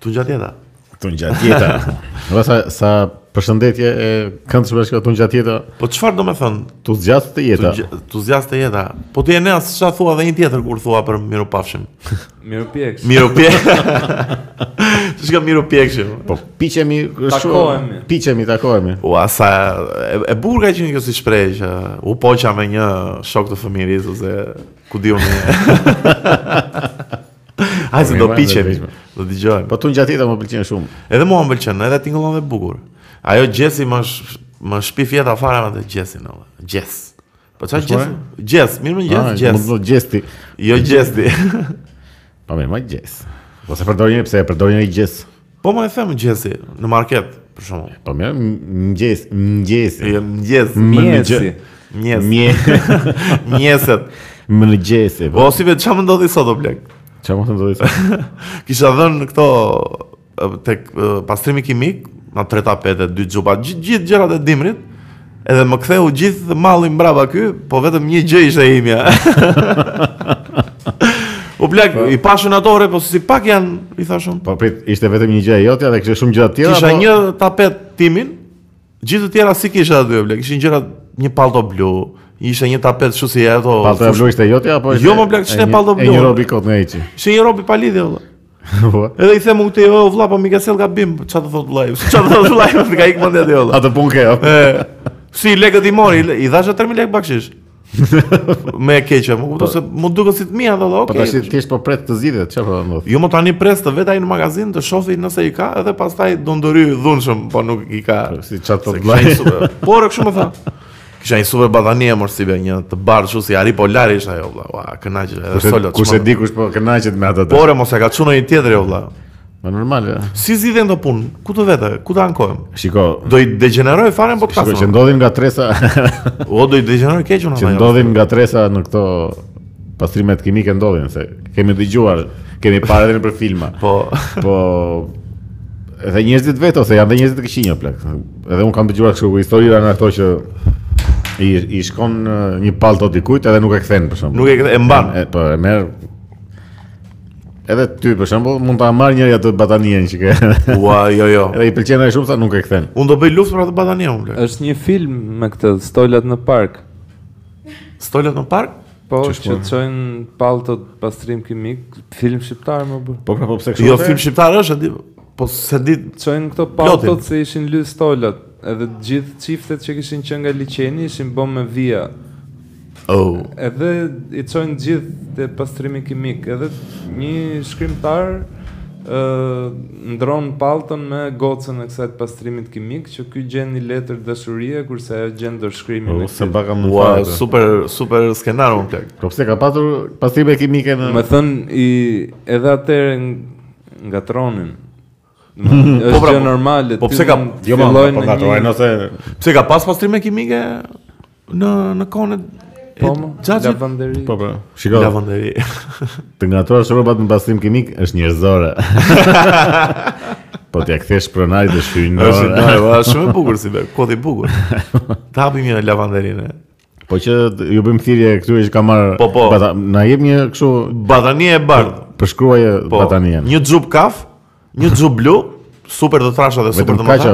Tunxha tjeta. Tunxha tjeta. Dhe sa, sa përshëndetje e këndshme është kjo tunxha tjeta, Po çfarë do me thënë? tu zgjatë të jeta. Entuziast të jeta. Po ti e ne asë çfarë thua dhe një tjetër kur thua për miru pafshim. Miru pjekës. Miru pjek. Çka miru pjekshim. Po piqemi, është shumë- Takohemi. Piqemi, takohemi. Ua, Po, sa e, e burga që një kjo si shprejsh, u poqa me një shok të fëmiris, ose ku di unë. Ai se do Mirë, piqemi, mirë, do dëgjojmë. Po tunxha tjeta më pëlqen shumë. Edhe mua më pëlqen, edhe tingëllon dhe bukur. Ajo Gjesi më sh, më shpif jeta fare me atë Gjesin olla. Gjes. Po çfarë Gjes? Gjes, mirë më Gjes, Ah, Gjes. Mund të gjesti. Jo Gjesti. Po mirë, më gjes. Po se përdor një pse e përdor një gjes. po më e them Gjesi në market, për shembull. Po mirë, mëngjes, mëngjesi. Jo Gjes, Mjesi. mjes, Mje, mjeset. mëngjesi. Po Po si vetë çfarë më ndodhi sot o blek? çfarë mund të ndodhi? sa? Kisha dhënë këto eh, tek eh, pastrimi kimik, na tre tapete, dy xhupa, gjith- gjithë gjërat e dimrit. Edhe më ktheu gjithë malli mbrapa ky, po vetëm një gjë ishte imja. U blak, i pashën ato re, po si pak janë, i thashun. Po prit, ishte vetëm një gjë e jotja dhe kishte shumë gjëra të tjera. Kisha po- një tapet timin, gjithë të tjera si kisha aty, o blak, ishin gjëra një palto blu, ishte një tapet kështu si ato. Palto e blu ishte jotja apo ishte? Jo, më blaq, ç'te e një- palto E blu? një robi kot në eçi. Ishin një rob i palidhje valla. Po. Edhe i them u këtij, "O vlla, po mi ka sel gabim." Çfarë të thot vllai? Çfarë të thot vllai? Më ka ikë mendja aty valla. Atë pun ke. jo? apo? E, si lekët i mori, i le- i dhasha 3000 lekë bakshish. me e keqe, më kupton se më duket si të mia thotë, Po okay. tash thjesht po pret të zgjidhet, çfarë po ndodh? Jo më tani pres të vetë ai në magazin të shofi nëse i ka edhe pastaj do ndëry dhunshëm, po nuk i ka. Si çfarë Se të kisha një vllai. super. Por e kështu më tha. Kisha një super badanie mor si be një të bardh kështu si Ari Polari ishte ajo vlla. Ua, kënaqesh edhe solo. Kush e di kush po kënaqet me atë? Por e mos e ka çunë një tjetër jo vlla. Po normal. e. Si zgjidhen të punë? Ku të vete? Ku të ankohem? Shiko, Do i degeneroj fare në shiko që podcast. ndodhin nga tresa, O do i degeneroj keq unë. që ama jo. ndodhin nga tresa në këto pastrimet kimike ndodhin se kemi dëgjuar, kemi parë edhe për filma. Po, Po edhe njerëzit vetë ose janë dhe njerëzit të këqinj o plak. Edhe un kam dëgjuar kështu historira nga ato që i, i shkon eh, një palto dikujt edhe nuk e kthen për shembull. nuk e kthe- e mban. E, po, e merr Edhe ty për shembull mund ta marr njëri atë batanien që ke. Ua, jo, jo. edhe i pëlqen ai shumë sa nuk e kthen. Unë do bëj luftë për atë badanie unë. bler. është një film me këtë stolat në park. Stolet në park? Po, Që që të qojnë paltot pastrim kimik, film shqiptar më bë. Po pra po pse Jo, film shqiptar është, e di, po se di Qojnë këto Plotin. paltot se ishin ly stolat, edhe të gjithë çiftet që kishin qenë nga liçeni ishin bëm me vija. Oh. Edhe i çojnë të gjithë te pastrimi kimik, edhe një shkrimtar ë ndron pallton me gocën e kësaj të pastrimit kimik që ky gjen një letër dashurie kurse ajo gjen dorëshkrimin Po e se këtij. baka më Ua, fare. super super skenar unë plak. Po pse ka patur pastrime kimike në Me thënë, i, edhe atëre nga tronin. Më thënë, është pra, gjë po- normale. po ty pse ka- mund Jo, ma, fillojnë po në ta një- trojnë ose Pse ka pas pastrime kimike në në kohën e Po, më, Xhaxhit? lavanderi. po po. Shiko, Lavanderi. Jo, të ngatrosh rrobat në pastrim kimik është njerëzore. po t'ia kthesh pronarit dhe Është shkruajnë. ndaj, ua, shumë e bukur si be, kod i bukur. Ta hapim një lavanderinë. Po që d- ju bëjmë thirrje këtyre që ka marr Po, po. bata- na jep një kështu Badanie e bardh. përshkruaje Po. batanien. Një xhup kaf, një xhup blu, super të trasha dhe super Vetëm të kaq. mëdha.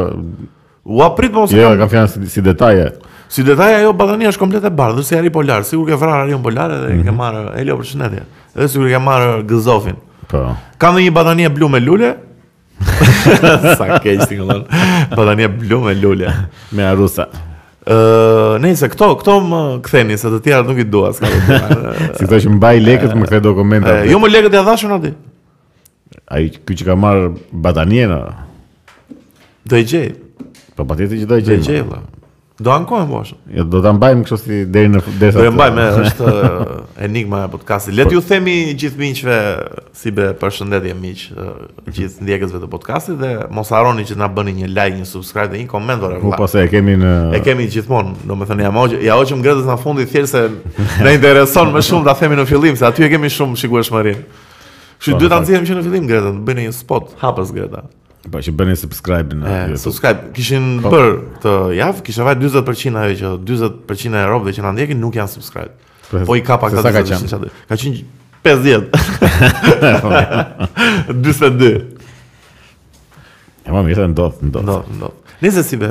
Ua prit mos Jo, kam fjalën si, si detaje. Si detaj ajo badania është komplet e bardhë, si ari polar, sigur ke vrarë arion polar edhe Mhm. ke marrë Elio për shëndetje. Edhe sigur ke marrë gëzofin. Po. Kam dhe një badanie blu me lule. Sa keq tingëllon. Badanie blu me lule. Me arusa. Ë, nëse këto, këto më ktheni se të tjerat nuk i dua, s'ka problem. Si këto që mbaj lekët më kthe Ë, dokumenta. Jo më lekët ja dhashën aty. Ai ky që ka marr batanien. a? Do e gjej. Po patjetër që do Do e e gjejmë. gjej valla. Do ankohem bosh. Jo, do ta mbajmë kështu si deri në derisa. Do e mbajmë, eh. e, është ë, enigma e podcastit. Le t'ju themi gjithë miqve si be përshëndetje miq, ë, gjithë ndjekësve të podcastit dhe mos harroni që na bëni një like, një subscribe dhe një koment ora. Po vëlla. po se e kemi në E kemi gjithmonë, domethënë ja hoqë, ja hoqëm gradës në fundi thjesht se na intereson më shumë ta themi në fillim se aty e kemi shumë shikueshmërinë. Kështu Po, duhet ta fakt. nxjerrim që në fillim Greta, të bëjnë një spot, hapës Greta. Po që bëni subscribe në E, YouTube. subscribe, kishin Po. bër të javë, kishte vaj 40% ajo që 40% e robëve që na ndjekin nuk janë subscribe. Po, Po i ka pak se ata sa ka 40% aty. Ka qenë 50. 42. E ma mirë, ndodh, ndodh. Ndodh, ndodh. Nëse si be,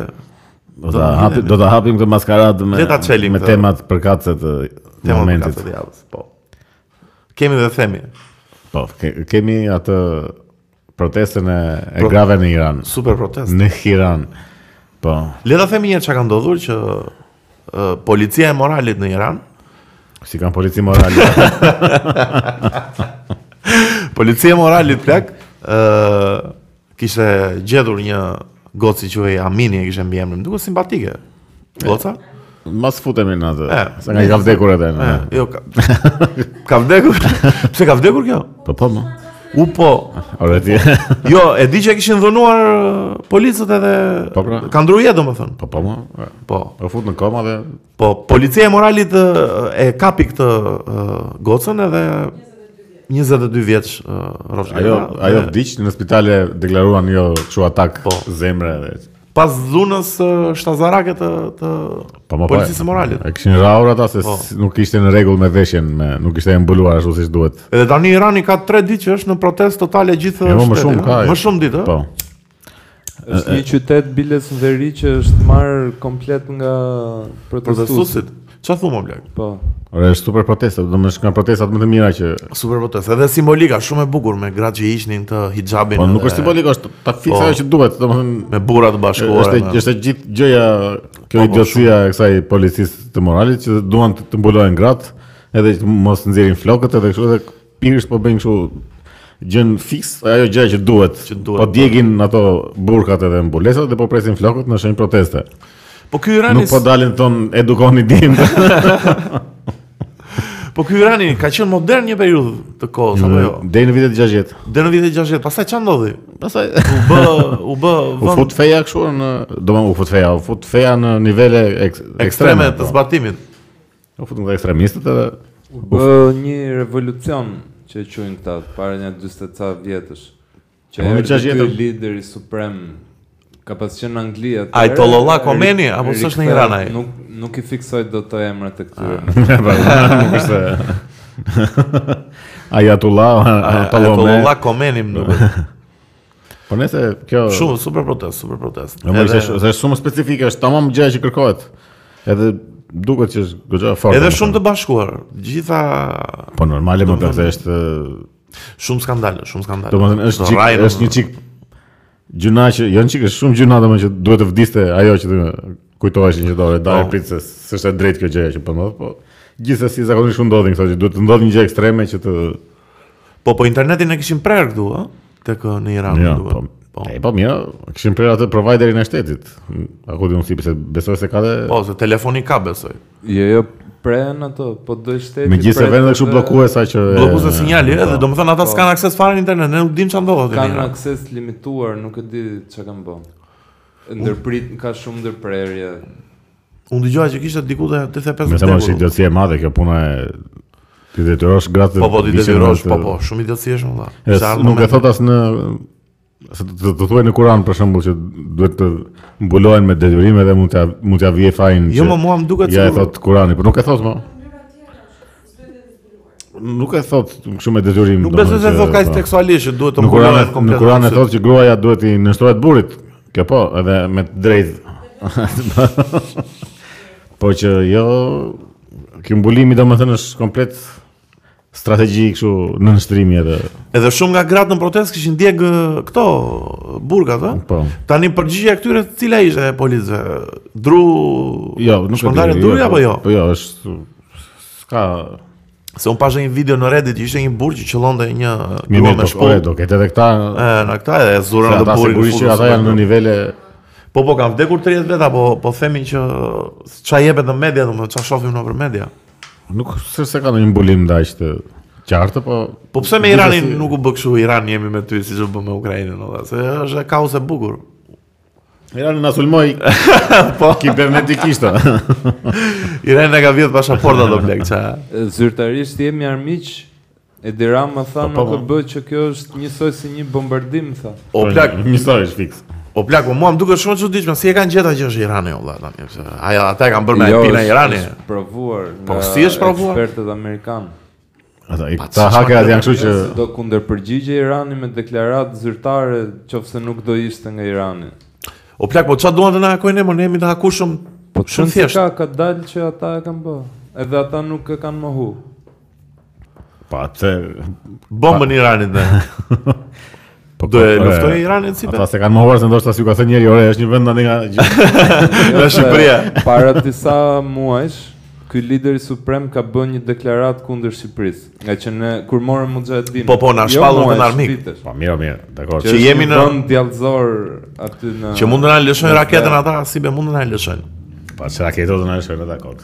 Do Do- ta hapim, do ta hapim këtë maskaradë me Le ta çelim me këtë. temat përkatëse të tema më momentit. katë të javës, po. Kemi dhe themi, Po, ke- kemi atë protestën e, e Pro- grave në Iran. super protest. Në Iran. Po, Le ta themi një herë çka ka ndodhur që ë, policia e moralit në Iran, si kanë polici morale. policia e moralit plak, ë kishte gjetur një gocë që quhej Amini, e kishte mbiemrin, duket simpatike. Goca? Mas futemi në atë. E, Se nga i ka vdekur edhe. në- E, jo ka. ka vdekur. Pse ka vdekur kjo? Po, po, mo. U po. Ore ti. Jo, e di që e kishin dhënuar ë, policët edhe Po, pra. ka ndruar jetë domethënë. Po, po, mo. Po. Po fut në koma dhe Po policia e moralit ë, e kapi këtë ë, gocën edhe 22 vjeç rrofsh. ajo ajo vdiq në spitale deklaruan jo çu atak Po. zemre dhe pas dhunës ë, shtazarake të të Po më policisë e moralit. E kishin rrahur ata se Po. s- nuk ishte në rregull me veshjen, me nuk ishte e mbuluar ashtu siç duhet. Edhe tani Irani ka 3 ditë që është në protestë totale gjithë E, mo, më shteti, shumë ë? ka, e. Më shumë ditë, ë? Po. Është një qytet biles në veri që është marrë komplet nga protestuesit. protestuesit. Çfarë thumë blaq? Po. Ore është super protesta, do më shkan protestat më të mira që Super protestë, edhe simbolika shumë e bukur me gratë që hiqnin të hijabin. po nuk edhe është simbolik, është ta fiksa Po. ajo që duhet, domethënë me burra të bashkuara. është me- është gjithë gjëja Po, kjo po, idiocia e kësaj policisë të moralit që duan të, të mbulojnë gratë edhe që mos nxjerrin flokët edhe kështu edhe pikërisht po bëjnë kështu gjën fiks ajo gjë që duhet. Që duhet, po po. djegin ato burkat edhe mbulesat dhe po presin flokët në shenjë proteste. Po ky Irani, Nuk po dalin thon edukoni dinë. po ky Irani ka qenë modern një periudhë të kohës apo jo? Deri në vitet 60. Deri në vitet 60, pastaj çfarë ndodhi? Pastaj U bë u bë U vend fut feja kështu në, do më u fut feja, u fut feja në nivele ek, ekstreme ekstreme. të zbatimit. po. U fut nga ekstremistët edhe U bë një revolucion që e quajnë këta para një 40 ca vjetësh. Që Po, e një erdhi ky 60. lideri suprem ka pas qenë në Angli atë. Ajtollah Khomeini, apo s'është në Iran ai? Ah. Nuk nuk i fiksoj dot të emrat e këtyre. Po, nuk është Ajatullah, Ajatullah. Ayatollah Khomeini më duket. Po nëse kjo Shumë super protest, super protest. Në Jo, më ishte sh- Edhe, është shumë specifike, është tamam gjëja që kërkohet. Edhe duket që është goxha fort. edhe shumë të bashkuar. Gjitha po normale më pak se është shumë skandale, shumë skandale. domethënë është Do çik rajnë, është një çik gjuna që jo një çik është shumë gjuna domethënë që duhet të vdiste ajo që të kujtohesh një dorë, dalë Po. prit se s'është e drejtë kjo gjëja që po ndodh, po gjithsesi zakonisht u ndodhin këto që duhet të ndodhë një gjë ekstreme që të Po po internetin e kishin prerë këtu, ë? Tek ë, në Iran, Ja, më duket. po. Po. E, po mirë, kishin prerë atë providerin e shtetit. A ku diun si pse besoj se ka dhe Po, se telefoni ka besoj. Jo, jo, pren ato, po do i shteti. me gjithë se pret vende kështu edhe bllokues sa që Bllokuzë e, sinjali, po. edhe domethënë ata s'kan akses fare në internet, ne nuk dim çfarë ndodh aty. në Kanë Iran. akses limituar, nuk e di çka kanë bën. Ndërprit ka shumë ndërprerje. Unë dëgjova që kishte diku te 35 Me sa më është vdekur. idioci e madhe kjo puna e ti detyrosh gratë. Po po, ti vishin detyrosh, atë- po po, shumë idioci është më dha. E, Sa s- Nuk e argumente- thot as në se të, të, të thuaj në Kur'an për shembull që duhet të mbulohen me detyrime dhe mund t'ja mund t'ja vije fajin. Jo, që- më mua më duket Ja e sigur. thot Kurani, por nuk e thot më. Nuk e thot kështu me detyrim. Nuk domethënë besoj se që- thot kaq po. tekstualisht që duhet të Në Kur'an mbulohen në komplet. Kur'an e se- thot që gruaja duhet i nështrohet burrit. Kjo po, edhe me të drejtë. po që jo ky mbulimi domethënë është komplet strategji kështu në nështrimi edhe Edhe shumë nga gratë në protestë kishin djeg ë, këto ë, burgat, ë? po. Tani përgjigjja e këtyre cila ishte e policëve? Dru Jo, nuk e shpërndarje di, dru apo jo? Po jo, është s'ka Se un pashë një video në Reddit që ishte një burr që qëllonte një mi grua me me po shkollë. Eh, ore, do ketë edhe këta Ë, na këta edhe e se zurën ata atë burrin. sigurisht që ata janë në nivele Po po kanë vdekur 30 veta, po po themin që ç'a jepet në media, domethënë ç'a shohim nëpër media. nuk s'është se ka ndonjë mbulim ndaj të qartë, po Po pse me Gjithsesi- Iranin nuk u bë kështu? Irani jemi me ty siç u bë me Ukrainën, ose se është kaos e bukur. Irani na sulmoi po kibernetikisht. Irani na ka vjedh pasaporta do blek ça. E, Zyrtarisht jemi armiq E dira më tha Po, po, nuk e po. bë që kjo është njësoj si një bombardim tha. O Po, plak, Njësoj është fiks. o plak, po mua më duket shumë e çuditshme, si e kanë gjetur që është Irani o vlla tani. pse Aja ata e kanë bërë me Jo, pina është- Irani. është provuar. Po, nga si është provuar? Ekspertët amerikanë. Ata i Pa, ta çfarë hakerat janë kështu që Nëse do kundërpërgjigje Irani me deklaratë zyrtare, qofse nuk do ishte nga Irani. O plak, po çfarë duan të na hakojnë ne, mo ne jemi të hakushëm Po shumë thjesht. Ka, ka dalë që ata e kanë bë. Edhe ata nuk e kanë mohu. pa pse Bombën Iranit dhe. po Do e po, luftoj e, Iranin si Ata vetë. se kanë mohuar se ndoshta si ju ka thënë njëri, ore, është një vend tani nga gjithë." Jo, Nga se Shqipëria. Para disa muajsh, ky lider i suprem ka bën një deklaratë kundër Shqipërisë, nga që ne kur morëm Mujahedin. Po, po, na shpallën Jo, muajsh, në armik. vitesh. Po mirë, mirë, dakor. Që Që jemi jemi në në- vend djallëzor aty në Që mund të na lëshojnë raketën ata, si be mund të na lëshojnë. Pa çka ke do të na shkojë dakor.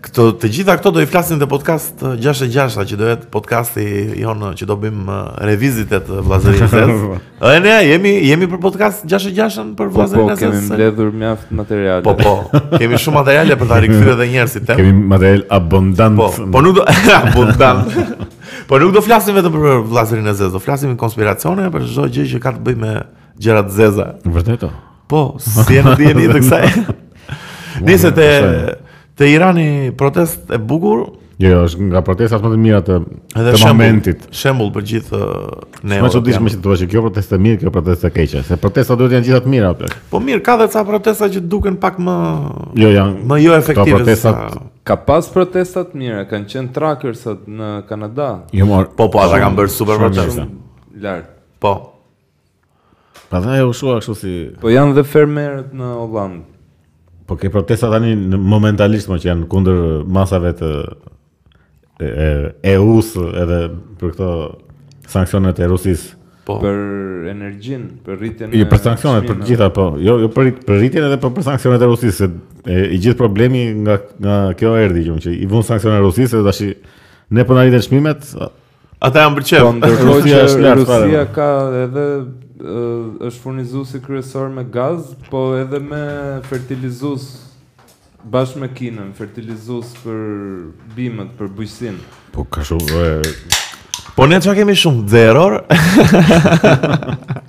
Këto të gjitha këto do i flasim te podcast eh, 66-a që do jetë podcasti jon eh, që do bëjmë eh, revizitet eh, vllazërinë e ses. E ne jemi jemi për podcast 66-ën për Po, po, vllazërinë e kemi ses. mbledhur mjaft materiale. Po po, kemi shumë materiale për ta rikthyer edhe njerëzit tem. Kemi material abundant. Po, po nuk do po dan. po nuk do flasim vetëm për vllazërinë e zezë, do flasim për konspiracione për çdo gjë që ka të bëjë me gjëra të zeza. Vërtet o? Po, si e në dijeni të kësaj. Nëse te te Irani protest e bukur Jo, jo, është nga protestat më të mira të, edhe Jo, të shembull- momentit. Shembull për gjithë ne. Më çuditshme që thua që kjo protestë e mirë, kjo protestë e keqe. Se protestat duhet janë gjitha të mira apo? Po mirë, ka dhe ca protesta që duken pak më Jo, janë. më jo efektive. Këto protestat- sa- Ka pas protestat mira, kanë qenë trackersat në Kanada. Jo, mor. Po po, ata kanë bërë super Shumë protest. mirë. Shumë lart. Po. Pa dha u shua kështu si Po janë dhe fermerët në Holland. Po ke protesta tani në momentalisht më që janë kundër masave të e- e- EU-s edhe për këto sanksionet e Rusisë. Po. Për energjinë, për rritjen Jo për sanksionet për çmimeve. gjitha po, jo jo për rit- për rritjen edhe për, për sanksionet e Rusisë. se, e, I gjithë problemi nga nga kjo erdhi gjum që i vun sanksionet e Rusisë dhe tash i- ne po na rritën çmimet. a- Ata janë për qef. Po ndërkohë Rusia që është lart fare. po. Rusia ka edhe ë, është furnizuesi kryesor me gaz, po edhe me fertilizues bashkë me Kinën, fertilizues për bimët, për bujqësinë. Po ka shumë e, Po ne çka kemi shumë zeror.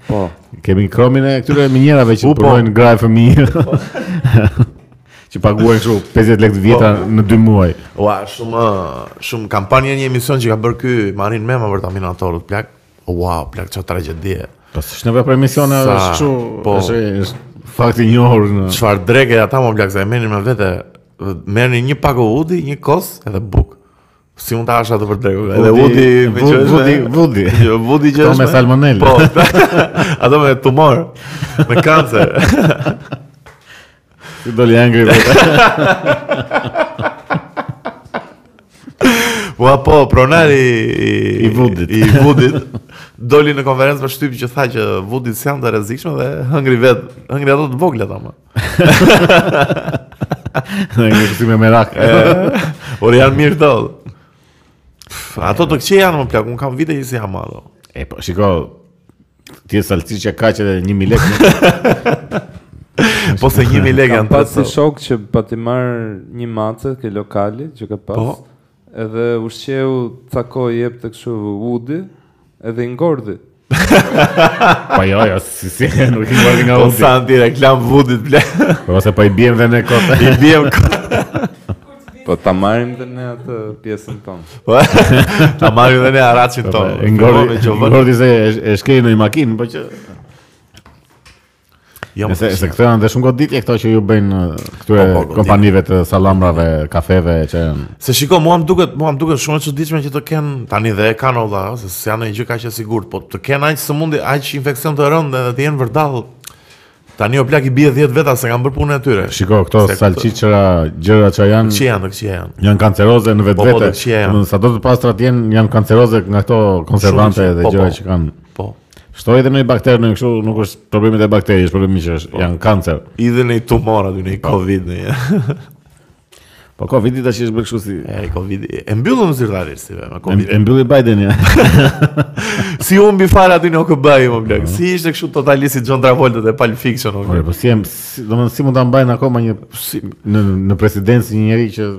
Po. Kemi kromin e këtyre minjerave që U, po. punojnë gra e fëmijë. Po. që paguajnë kështu 50 lekë të vjetra në 2 muaj. Ua, shumë shumë kampanja një emision që ka bërë ky Marin Mema për taminatorët, plak. Wow, plak çfarë tragjedi. Po s'është nevojë për emisione Sa, është kështu, po. është është fakt i njohur në Çfarë dreke ata më plak se e merrin me vete merrni një pak udi, një kos edhe buk. Si mund ta hash atë për dreku? Edhe udi, me vudi, që është vudi, me- vudi. Jo, vudi që Ato është me salmonellë. Po. ato me tumor, me kancer. Ti doli angri po. vetë. Ua po, pronari i, I vudit. I vudit doli në konferencë për shtyp që tha që vudit si janë të rrezikshme dhe hëngri vet, hëngri ato të vogla ama. Në kështu me merak. Por janë mirë këto. Pff, Ato të këqe janë më plak, unë kam vite që si jam ato. E po, shiko, ti e salciçja ka që 1000 lekë. Po se 1000 lekë Kam janë pas si të shok që pati marr një mace ke lokali që ka pas. Po. Edhe ushqeu ca kohë jep të kështu Woody edhe i ngordhi. Po jo, jo, si si nuk i vjen nga Po udi. Santi reklam vudit ble. Po ose po i bjem dhe në kot. I bjem Po ta marrim dhe ne atë pjesën tonë. po. Ta marrim dhe ne araçin ton. Ngordi, Filmove që vën. ngordi se Po, e- e shkej në një makinë, po që Jo, më Nëse se këshia. këto janë dhe shumë goditje këto që ju bëjnë uh, Po, këtyre po, goditje. kompanive të salamrave, kafeve që janë. Se shiko, mua më duket, mua më duket shumë e çuditshme që të kenë tani dhe e kanë olla, ëh, se s'janë një gjë kaq e sigurt, po të kenë aq sëmundje, aq infeksion të rëndë dhe të jenë vërdall. Tani o plak i bie 10 veta se kanë bërë punën e tyre. Shiko, këto Se këto- salçiçëra, gjëra që janë Çi janë, çi janë. janë kanceroze në Po, po, vetvete. dhe që janë. Domethënë, Sa do të pastrat janë, janë kanceroze nga këto konservante Shumë që- po, dhe gjëra po. që kanë. Po. Shtoj edhe në një bakter në një kështu, nuk është problemi te bakteri, është problemi që Po. është, janë kancer. I dhe në i tumor aty në i Covid në. Po Covidi tash është bërë kështu si E Covid e mbyllën zyrtarisht si me E Covid. e mbylli Biden ja. Si humbi fare aty në OKB-i më plak. Si ishte kështu totalisht si John Travolta dhe Pulp Fiction o Ore, plak. po si, e- si- domethënë si mund ta mbajnë akoma një në në presidencë një njerëz që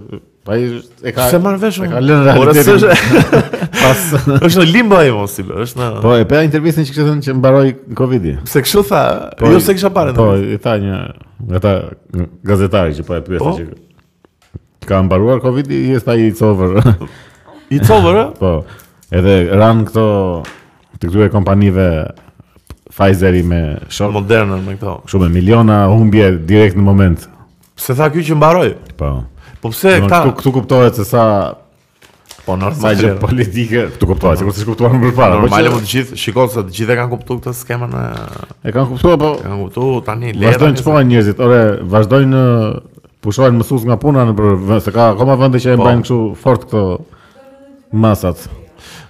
Pa i e ka Se marr vesh e unë. ka lënë Ora, realitetin. s'është- Pas është në limbo ai mos si, është në po e pa intervistën që kishte thënë që mbaroi Covidi. se kështu tha, Po, jo se kisha parë. Po, ndonjë. i tha një nga ata gazetari që po e pyeta Po. që ka mbaruar Covidi, yes, tha it's over. It's over, ë? po. Edhe ran këto të këtyre kompanive Pfizeri me shok Modernën me këto. Kështu me miliona humbje direkt në moment. Se tha ky që mbaroi. Po. Po pse Domthon, këta Këtu këtu kuptohet se sa po sa gjë normal. politike, këtu kuptohet, sikur s'e kuptuar më përpara. po Normale që- po të gjithë, shikoj se të gjithë e kanë kuptuar këtë skemën, e, e kanë kuptuar po e kanë kuptuar tani lera. vazhdojnë po- të shpohen njerëzit. Ore, vazhdojnë ë, pushohen mësues nga puna në për se ka akoma vende që e Po. mbajnë kështu fort këto masat.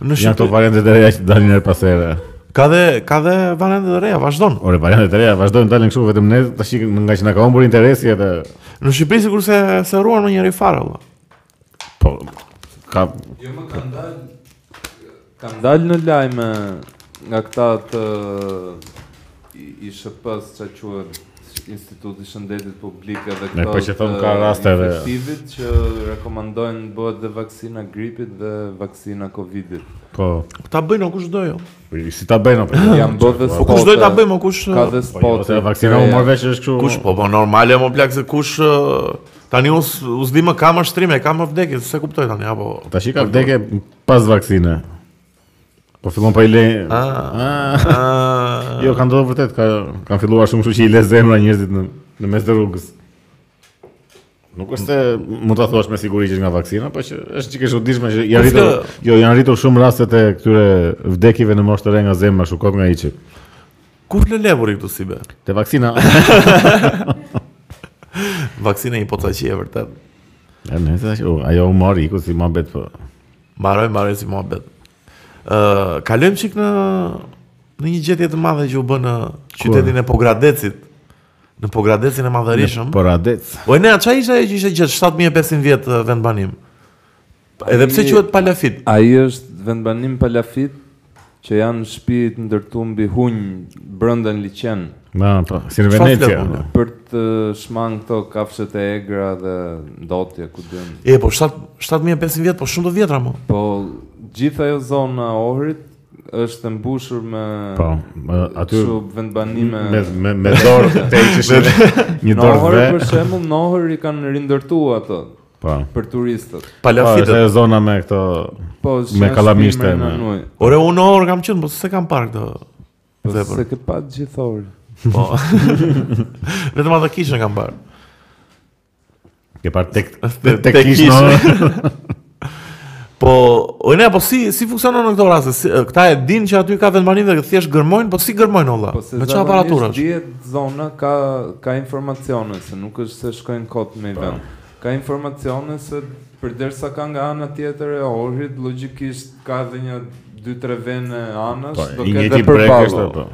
Në Janë këto Shqipëri variante të reja që dalin her pas here. ka dhe ka dhe variante të reja, vazhdon. Ore, variante të reja vazhdojnë dalin kështu vetëm ne tash që- nga që na ka humbur interesi edhe Në Shqipëri sikur se se ruan në njëri farë valla. po ka Jo më kam dal kam dal në lajme nga këta të i- i shëpës që quhet Instituti i Shëndetit Publik edhe Ne, këto po që thon të ka raste edhe- infektivit që rekomandojnë bëhet dhe vaksina gripit dhe vaksina covidit. po Ta bëjnë o kush do jo. si ta bëjnë apo? Janë bërë dhe Po kush do ta bëjmë o kush Ka Po, dhe jo, spote. se vaksina u morë vesh është kështu. kush po po normale mo plak se kush ë, tani us us di më kam shtrime, kam vdekje, se kuptoj tani apo Tash i ka vdekje pas vaksine. Po fillon pa i le... Ah. Ë, Jo, ka ndodhur vërtet, ka kanë filluar shumë kështu që i le zemra njerëzit në në mes të rrugës. Nuk është se mund ta thuash me siguri që është nga vaksina, po që është çike çuditshme që janë rritur, s'ka- jo, janë rritur shumë rastet e këtyre vdekjeve në moshë të re nga zemra, kështu kot nga hiçi. ku le leburi këtu si be? Te vaksina. Vaksina i potaqi e vërtet. Ja, ne thash, "U, ajo u mori iku si mohabet po. Mbaroj, mbaroj si muhabet. Ë, kalojmë çik në në një gjetje të madhe që u bën në qytetin e Pogradecit. Në Pogradecin e Madhërisëm. Poradec. Po ne çfarë ishte ajo që ishte gjatë 7500 vjet ë, vend banim. Edhe pse Ai- quhet Palafit. Ai është vendbanim palafit që janë shtëpi të ndërtuar mbi hunj brenda në liçen Na, po, si në Çfarë Venecia. flet, unë? për të shmang këto kafshët e egra dhe ndotje ku dëm. E po 7 7500 vjet, po shumë të vjetra më. Po gjithë ajo zona e Ohrit është e mbushur me Po, aty kështu vendbanime me me, me dorë te ishte një Në dorë Ohr dhe për shembull, në Ohr i kanë rindërtuar ato po. për turistët. Po, Palafit. është ajo zona me këto Po Me janë kalamishte, shtëpi me me- nuj. Ore unë në orë kam qenë, po s'e kam parë këtë. Po Vepër. se ke pa gjithë Ohrin. Po. Vetëm atë kishën kam parë. ke par tek Te- tek te kish kish. në Po, o ne, po si si funksionon në këto raste? Si, e, këta e dinë që aty ka vendbanim dhe thjesht gërmojnë, po si gërmojnë olla? Po se Me çfarë zakonisht aparaturash? Dihet zona ka ka informacione se nuk është se shkojnë kot me i vend. Ka informacione se përderisa ka nga ana tjetër e Ohrit logjikisht ka edhe një 2-3 vende anash, po do i ketë njëti dhe brek është përpalo. po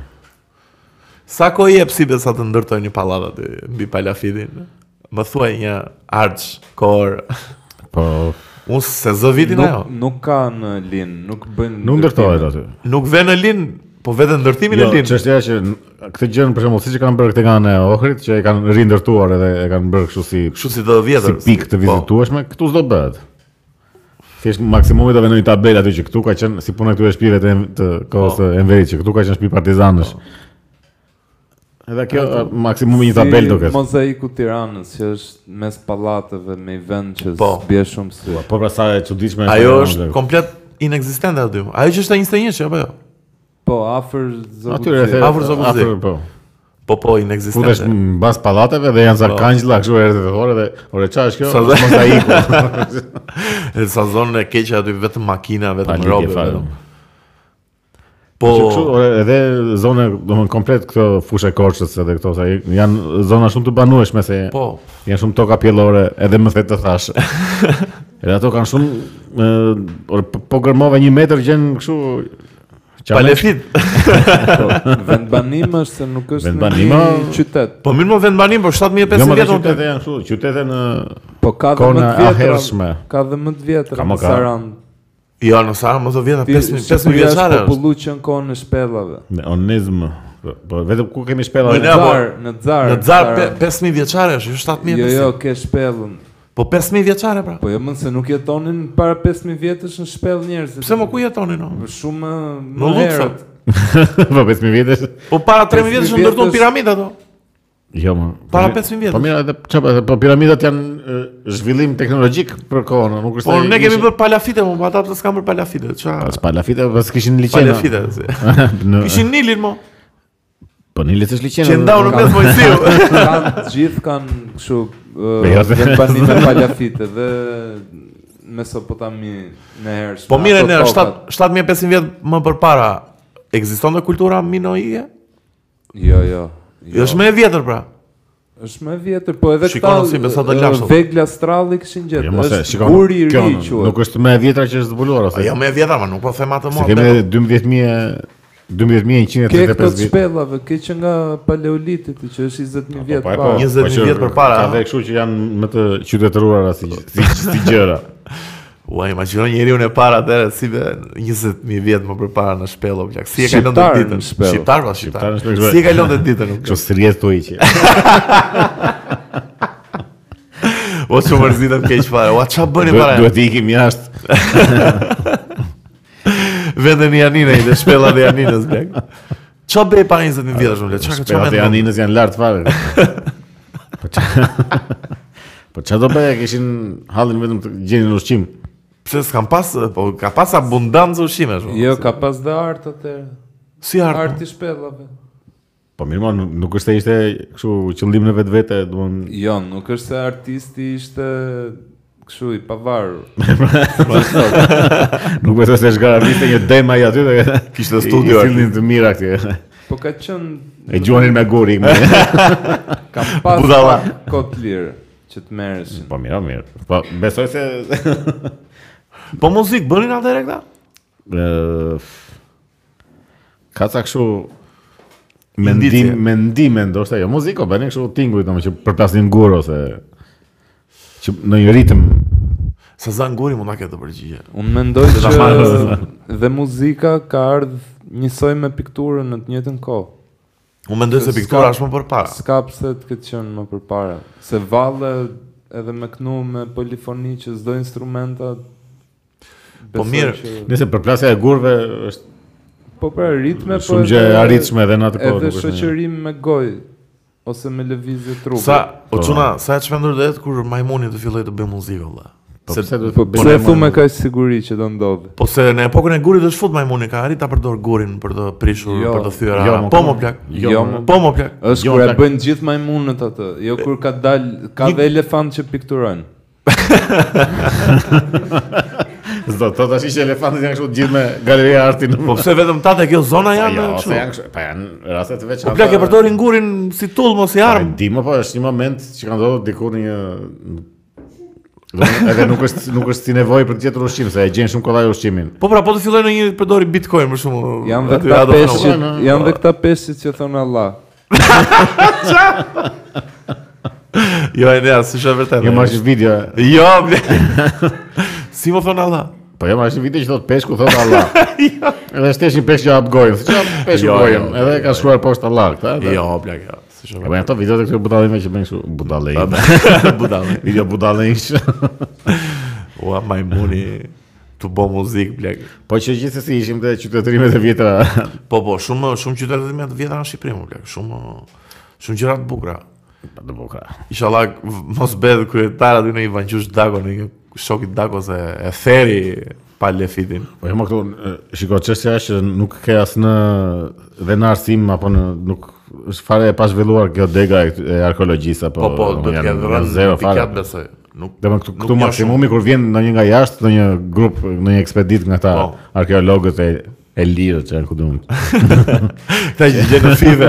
Sa kohë jep si besa të ndërtojnë një pallat aty mbi Palafidin? Më thuaj një arç kor. po Unë se zë vitin Nuk, ajo. nuk ka në lin, nuk bën. nuk ndërtohet aty Nuk ve në lin, po vetë ndërtimin Jo, e lin. çështja është që n- këtë gjën për shembull siç e kanë bërë këtë nga ana e Ohrit që e kanë rindërtuar edhe e kanë bërë kështu si Kështu si të Po. si po. vjetër. pikë të vizitueshme, këtu s'do bëhet. Thjesht maksimumi ta vendoj tabelë aty që këtu ka qenë si puna e këtyre shtëpive të, em- të kohës të Enverit që këtu ka qenë shtëpi partizanësh. Edhe kjo a, maksimumi një tabelë do ketë. Mozaiku Tiranës që është mes pallateve me i vend që Po. bie shumë sy. Po pra sa e çuditshme e Ajo Tiranë, është bler. komplet inekzistente aty. Ajo që është e 21 që apo jo? Po afër Atyre Zogutit. the- Afër Zoguzi. afër, Po. Po po, Futesh inekzistente. mbas pallateve dhe janë sarkangjlla kështu erë të orë dhe ore çfarë është kjo? Sa- Mozaiku. Edhe sa zonë e keqe aty vetëm makina, Pa vetëm lidhje robe. fare. vetëm. Po, Po, kështu ore edhe zona domthon komplet këto fushë korçës edhe këto sa janë zona shumë të banueshme se po. Janë shumë toka pjellore, edhe më thetë të thash. edhe ato kanë shumë, e, orë, po- po gërmove një metër gjenë kështu... qamek. Palefit. Po, Vendbanim është se nuk është në Vendbanima- një qytet. Po mirë më vend banim për Jo, 7500 më dhe vjet. unë- qytete janë kështu, qytete në... Po ka dhe Kona më të vjetra. ahershme. Ka dhe më të vjetra. Ka më në ka. Sarandë. Jo, në sa më të vjetra 5000 5000 Shqipëria është vjeçare. është. Popullu që në kohën e shpellave. Në onizm, po- po vetëm ku kemi shpella... Më Në ne- Ja, po, Zar, në Zar. Në Zar pe- 5000 vjeçare është, jo 7000. Jo, e jo, pesëmijë. ke shpellën. Po 5000 vjeçare pra. Po jo më se nuk jetonin para 5000 vjetësh në shpellë njerëzit. Pse më ku jetonin no? Shumë Në më Luxor. herët. po 5000 vjetësh. Po para 3000 vjetësh 5000 ndërtuan vjetësh- piramidat ato. Jo, më. Para 500 vjetësh. Po mira, edhe çfarë, edhe- po piramidat janë e, zhvillim teknologjik për kohën, nuk është. Po se ne kemi ishin- bërë palafite, mo, po ata të s'kan bërë palafite. Po, Ç'a s'pa lafite, pas kishin liçena. palafite. se. Në- Kishin Nilin mo, Po në liçesh liçena. që ndau në nuk- mes Mojsiu. Kanë të gjithë kanë kështu Po jo, uh, se- janë bani me palafite dhe Mesopotami në hershme. Po mire ato në tokat. 7 7500 vjet më përpara ekzistonte kultura minoike? Jo, jo. jo. Jo. Është më e vjetër pra. Është më e vjetër, po edhe Shikon si besa të ë, lashëm. Vegla Stralli kishin Jo, gjetë. mos e, Është shikon. buri i kjo ri nuk- quhet. Nuk është më e vjetra që është zbuluar ose. Po jo më e vjetër, ma nuk po them atë Se mua. kemi atë- edhe 12100 Ke 12135 këto të vjet. shpellave, ke që nga paleolititi që është 20000 vjet e, para. 20.000 po që vjet përpara, Ka ha? dhe kështu që janë më të qytetëruara si si, si gjëra. Ua, imagjino njeriu në para atëherë si be 20000 vjet më përpara në shpellë, plak. Si e kalon të Shqiptar në ditën? shpellë. Shqiptar pas Shqiptar shqiptar. në shpellë. Si e kalon të ditën? nuk- Kështu srjet tu hiqe. O çu mërzitem keq fare. Ua ç'a bëni Duhet para? duhet i ikim jashtë. Vende në Janinën dhe shpella dhe Janinës blek. Ç'a bëj para 20 vjetësh unë? Ç'a ç'a Shpelat e mendon? aninës janë lart fare. Po qa- Po çfarë do bëja kishin hallin vetëm të gjenin ushqim. Pse s'kam pas, po ka pas abundancë ushqimesh. po. Jo, ka pas dhe art atë. si art. Arti i shpellave. Po mirë, mo, nuk- nuk është se ishte kështu qëllim në vetvete, domthonë Jo, nuk është se artisti ishte kështu i pavarur. nuk besoj se zgara viste një dema i aty dhe Kishte studio i aty. Sillnin të mira këtje. Po ka qenë E gjuanin me guri. me- ka pas Budalla. pak kot lirë që të merreshin. Po mirë, mirë. Po besoj se Po muzikë bënin atëherë këta? ë, ka ca kështu mendim, Indicie. mendime ndoshta, jo muzikë, po bënin kështu tinguj domethënë që përplasnin gur ose që në një ritëm. Se zanguri mund ta ketë të përgjigje. Unë mendoj ta që marrë. dhe muzika ka ardhë njësoj me pikturën në të njëjtën kohë. Unë mendoj se S'ka- piktura është më përpara. S'ka pse të këtë qenë më përpara. Se valle edhe me kënu me polifoni që s'do instrumenta Po besoj mirë. që- Nëse përplasja e gurve është Po pra ritme po shumë gjë e edhe- arritshme edhe në atë kohë. Edhe po, nuk është një- shoqërim me gojë ose me lëvizje trupi. Sa, o Po. çuna, sa e çmendur do jetë kur majmuni të filloi të bëjë muzikë valla. Po Se pse duhet Po të pse e bëjmë- thu me kaq siguri që do ndodhi? po se në epokën e gurit është fut majmuni ka arrit ta përdor gurin për të prishur, Jo. për të thyer. Jo, ara. mo, po ka- më plak. Jo, Jo, mo. mo. Po më plak. Është Jo, kur e tak- bëjnë gjithë majmunët atë, jo kur ka dal, ka Një- dhe elefant që pikturojnë. S'do të thotë po, tash që elefantët janë kështu gjithë me galeria arti në. Po pse vetëm ta te kjo zona janë Jo, kështu? se janë kështu, pa janë raste të veçanta. Po plak e përdorin gurin si tull mos si Arm. armë. Di më po është një moment që ka ndodhur diku në një Domethënë, edhe nuk është nuk është si nevojë për të gjetur ushqim, se e gjen shumë kollaj ushqimin. Po pra, po të filloj në një përdori bitcoin për shumë. Janë dhe aty këta Ado Fnau. peshqit, Fnau. janë dhe këta peshqit që thonë Allah. Jo, e nea, si shë vërtet. Jo marrësh video. Jo, ble. si më thonë Allah? Po jo marrësh video që thot peshku thot Allah. Edhe shtesh një peshk që hap gojën. Si hap peshku Jo, gojën. jo, Edhe ka shkruar poshtë Allah, këtë. edhe- Jo, ble, jo. Si shë E bëjnë ato videot e këtyre budallëve që bëjnë kështu budallë. vërtet. Budallë. Video budallësh. Ua, majmuni, të bo muzikë, ble. Po që gjithsesi ishim te qytetërimet e vjetra. Po, po, shumë, shumë qytetet me të vjetra në Shqipëri, më ble. Shumë, shumë gjëra të bukura. Pa të bukur. Inshallah v- mos bëhet kryetar aty në Ivanqush Dako, në një shokit Dako se e theri pa lefitin. Po jam këtu, e, shiko, çështja është që nuk ke as në dhe në arsim apo në nuk është fare e pa zhvilluar kjo dega e këty- e arkeologjisë apo Po, po, do të janë- ketë janë rëndë zero në fare. pikat besoj. Nuk, Dhe më këtu, nuk këtu njoh maksimumi kur vjen ndonjë nga jashtë, ndonjë grup, ndonjë ekspedit nga ta Po. arkeologët e e lirë që janë ku duan. shumë. Këta që gjenë në five.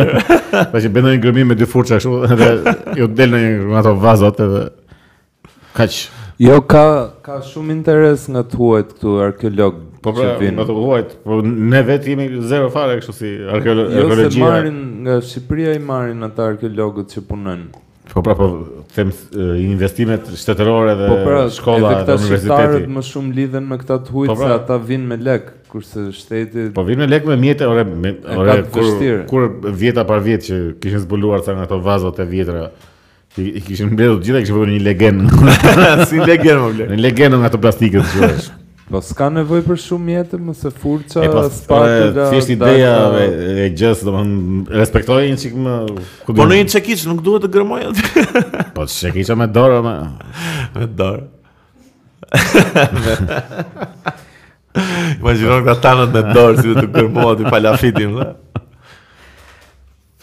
Pra që bën ndonjë grëmim me dy furça kështu dhe ju del ndonjë nga ato vazat edhe kaq. Jo, ka, ka shumë interes nga të huajt këtu arkeolog Po pra, që vinë. Jo, ato huajt, po ne vetë jemi zero fare kështu si arkeolo- Jo se arkeologjia. marrin nga Shqipëria i marrin ata arkeologët që punojnë. Po pra, po them e, investimet shtetërore dhe Po pra, shkolla dhe edhe këta universiteti. shqiptarët më shumë lidhen me këta të huajt Po pra. se ata vinë me lek, kurse shteti Po vinë me lek me mjete, ore, me, E ore ka të kur, vështirë. kur vjeta par vjetë që kishin zbuluar ca nga ato vazot e vjetra I, i kishin mbledhur të gjitha, kishin vënë një legendë. si leger më bler. Një legendë nga ato plastikët që është. Po s'ka nevojë për shumë mjetë, më se furça, E po, spatula, e, thjesht ideja e, e gjës, domethënë respektoj një çik më Po ku diun. në një çekiç nuk duhet të gërmoj atë Po çe kisha me dorë më. me dorë. Imagjinon këta tanët me dorë si do të gërmohet aty palafitin, dhe.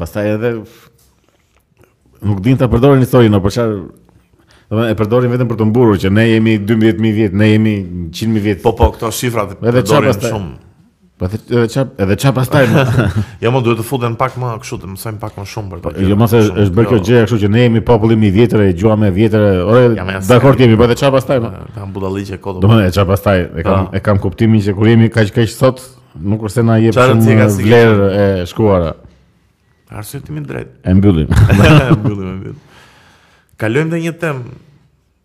Pastaj edhe f- nuk din ta përdorin historinë, por çfarë domethënë e përdorin vetëm për të mburur që ne jemi 12000 vjet, ne jemi 100000 vjet. Po po, këto shifrat Edhe qa përdorin pastaj? shumë. Po edhe edhe ça edhe ça pastaj. më? Jo, më duhet të futen pak më kështu, të mësojmë pak më shumë për këtë. Jo mos është është bërë kjo gjë kështu që ne jemi populli më i vjetër, e gjuha më e vjetër. Ore, Ja, me asaj. dakor jemi, po edhe ça pastaj. më? Kam budalliqe kodë. Do më e qa pastaj, e kam, Pa. e kam kuptimin që kur jemi kaq kaq sot, nuk është se na jep Qa rëndësie ka shumë si ke vlerë e shkuara. Arsye timi drejt. E mbyllim. mbyllim e mbyll. Kalojmë te një temë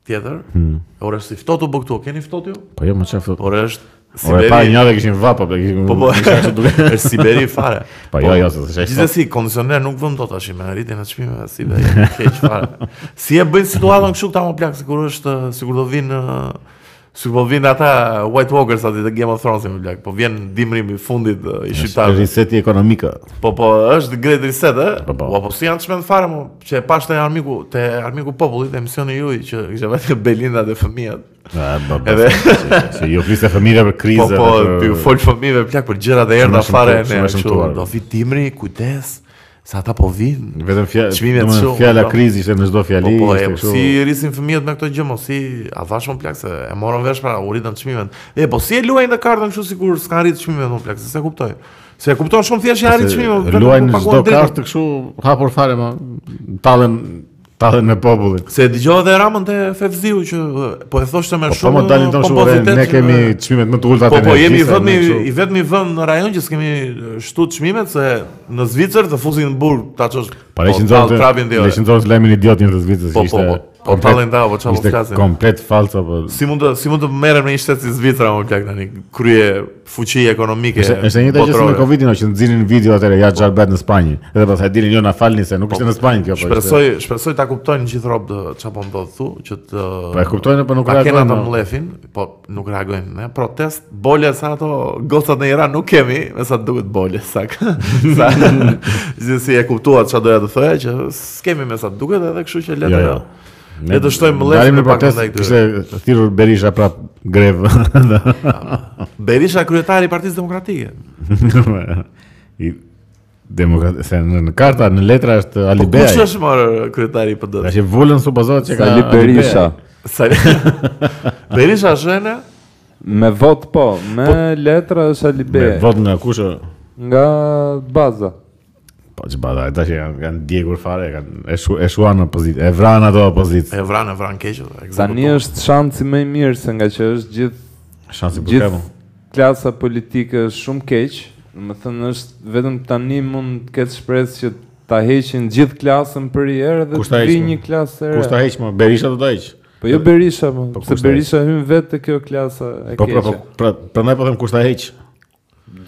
tjetër. Hmm. Ora si ftohtë u bë këtu, keni ftohtë ju? po jo më qa fëtë. Por është Ore, pa Po, Siberi. njëve kishin vapa, po kishin... Po po, kishin kështu duke- është Siberi fare. Po, jo, jo, se s'është Gjithsesi, kondicioner nuk vëm dot tash me rritjen e çmimeve si be keq fare. Si e bëjnë situatën kështu këta më plak sikur është sikur do vinë ë, sikur do vinë ata White Walkers aty te Game of Thrones më plak. Po vjen dimri i fundit ë, i Është shqiptarëve. Riseti ekonomika. Po po, është Great Reset, ë? Po, po. Ua, po si janë çmend fare mu, që e pashte armiku, te armiku popullit emisioni juaj që kishte vetëm Belinda dhe fëmijët. E, Ah, ba, ba, Edhe se ju fliste familja për po krizë. po, edhe ti u fol fëmijëve plak për gjëra dhe erdha Shumë e fare shëmtu- ne shumë e kështu. shëmtuar. Do vi timri, kujdes, se ata po vinë. Vetëm fjala, Çmimet shumë, fjala po. krizë ishte në çdo Po fjali, po, ishte e, kështu. si rrisin fëmijët me këto gjë, mos si a thash më plak se e morën vesh para u ritën çmimet. E po si e luajnë të kartën kështu sikur s'kan rrit çmimet më plak, se s'e kuptoj. Se e kupton shumë thjesht që arrit çmimet. vetëm po Luajnë në paguan çdo drejtën. kartë kështu hapur fare më tallen tallen me popullin. Se dëgjova edhe Ramën te Fevziu që ë, po e thoshte me Po shumë po më dalin tonë shumë, re, pompozitet ne që- kemi çmimet më të ulta Po te po ne, jemi gjithsa, vetëm ne kështu. i vetmi vend në rajon që s'kemi ë, shtu çmimet se në Zvicër të fusin në burg ta çosh. Po le tall qindron trapin dhe. le qindron lajmin idiot një të Zvicrës Po, që ishte. po, po, po, komplet- tallin dha, po, çfarë po ishte flasim? Komplet po, fals apo. Si mund të si mund të merrem në një shtet si Zvicra më plak tani, krye fuqi ekonomike. Është është e njëjta gjë si me po, botërore. Covidin, o, që nxinin video atëre ja xharbet në Spanjë. Edhe pastaj dilin jo na falni se nuk ishte në Spanjë kjo po. ishte- Shpresoj shpresoj ta kuptojnë gjithë rob çfarë po ndodh thu, që të Po e kuptojnë po nuk Ta kena reagojnë. të o. mlefin, po nuk reagojnë ne. Protest, bolje sa ato gocat në Iran nuk kemi, me sa duket bolje sak. sa si e kuptuat çfarë doja të thoja që s'kemi me sa duket edhe kështu që le Jo, të jo. Le të shtojmë mlefin Dalim e në pak protestë, ndaj këtyre. Kishte thirrur Berisha prap grev. Berisha kryetari i Partisë Demokratike. I demokrat se në në karta në letra është Ali Po, Kush Bej. është më kryetari i PD? Tash e volën supozohet që ka Sali Ali Bej. Berisha. Sa Berisha është ende? Me vot po, me letra është Ali Me Beri. Vot nga kush? o? Nga baza. Po që bada, e tash e kanë kanë djegur fare, e kanë e, shu, e shuan në opozitë, e vranë ato opozitë. E vran, e vran keq. Tani është shansi më i mirë se nga që është gjithë Shansi për gjithë kemo. klasa politike është shumë keq, do të thënë është vetëm tani mund të ketë shpresë që ta heqin gjithë klasën për i herë dhe Kush ta të vi heq, më? një klasë e Kush ta re. heq më? Berisha do ta heq. Po jo Berisha, më, Po se kush ta Berisha hyn vetë te kjo klasa e Po pra, keqe. po, pra, prandaj po them kush ta heq.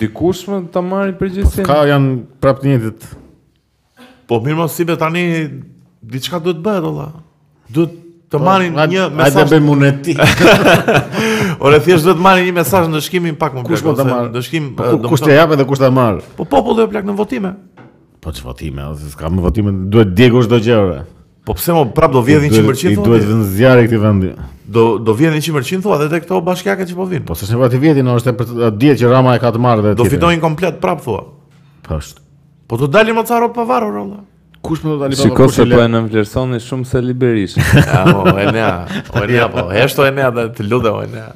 Dikush më ta marrë Po, përgjithsinë. Ka janë prapë të njëjtit. Po mirë mos si be tani diçka duhet bëhet olla. Duhet të marrin Po, Hajde- një Hajde mesazh. bëjmë unë e ti. Ore thjesht duhet marrin një mesazh në dëshkimin pak më Kush mund ta ose marr? Dëshkim Po, e, ku- do Kush të të jap edhe kush ta marr? Po populli e plak në votime. Po ç'votime, votime, ose s'ka më votime, duhet djegur çdo gjë. ore. Po pse mo prap do vjedhin I 100% duhet votime? vënë zjarri këtij vendi. Do do vjedhin 100% thua edhe te këto bashkiake që po vinë. Po s'është nevojë të vjetin, no, është e për të dihet që Rama e ka të marrë dhe Do tjetrin. fitojnë komplet prap thua. Po është. Po do dalin më caro pa varur olla. Kush më do tani Shiko se po e nënvlerësoni shumë se Ali Berisha. Ja, o Enea, o Enea, po, heshto Enea dhe të lutem o Enea.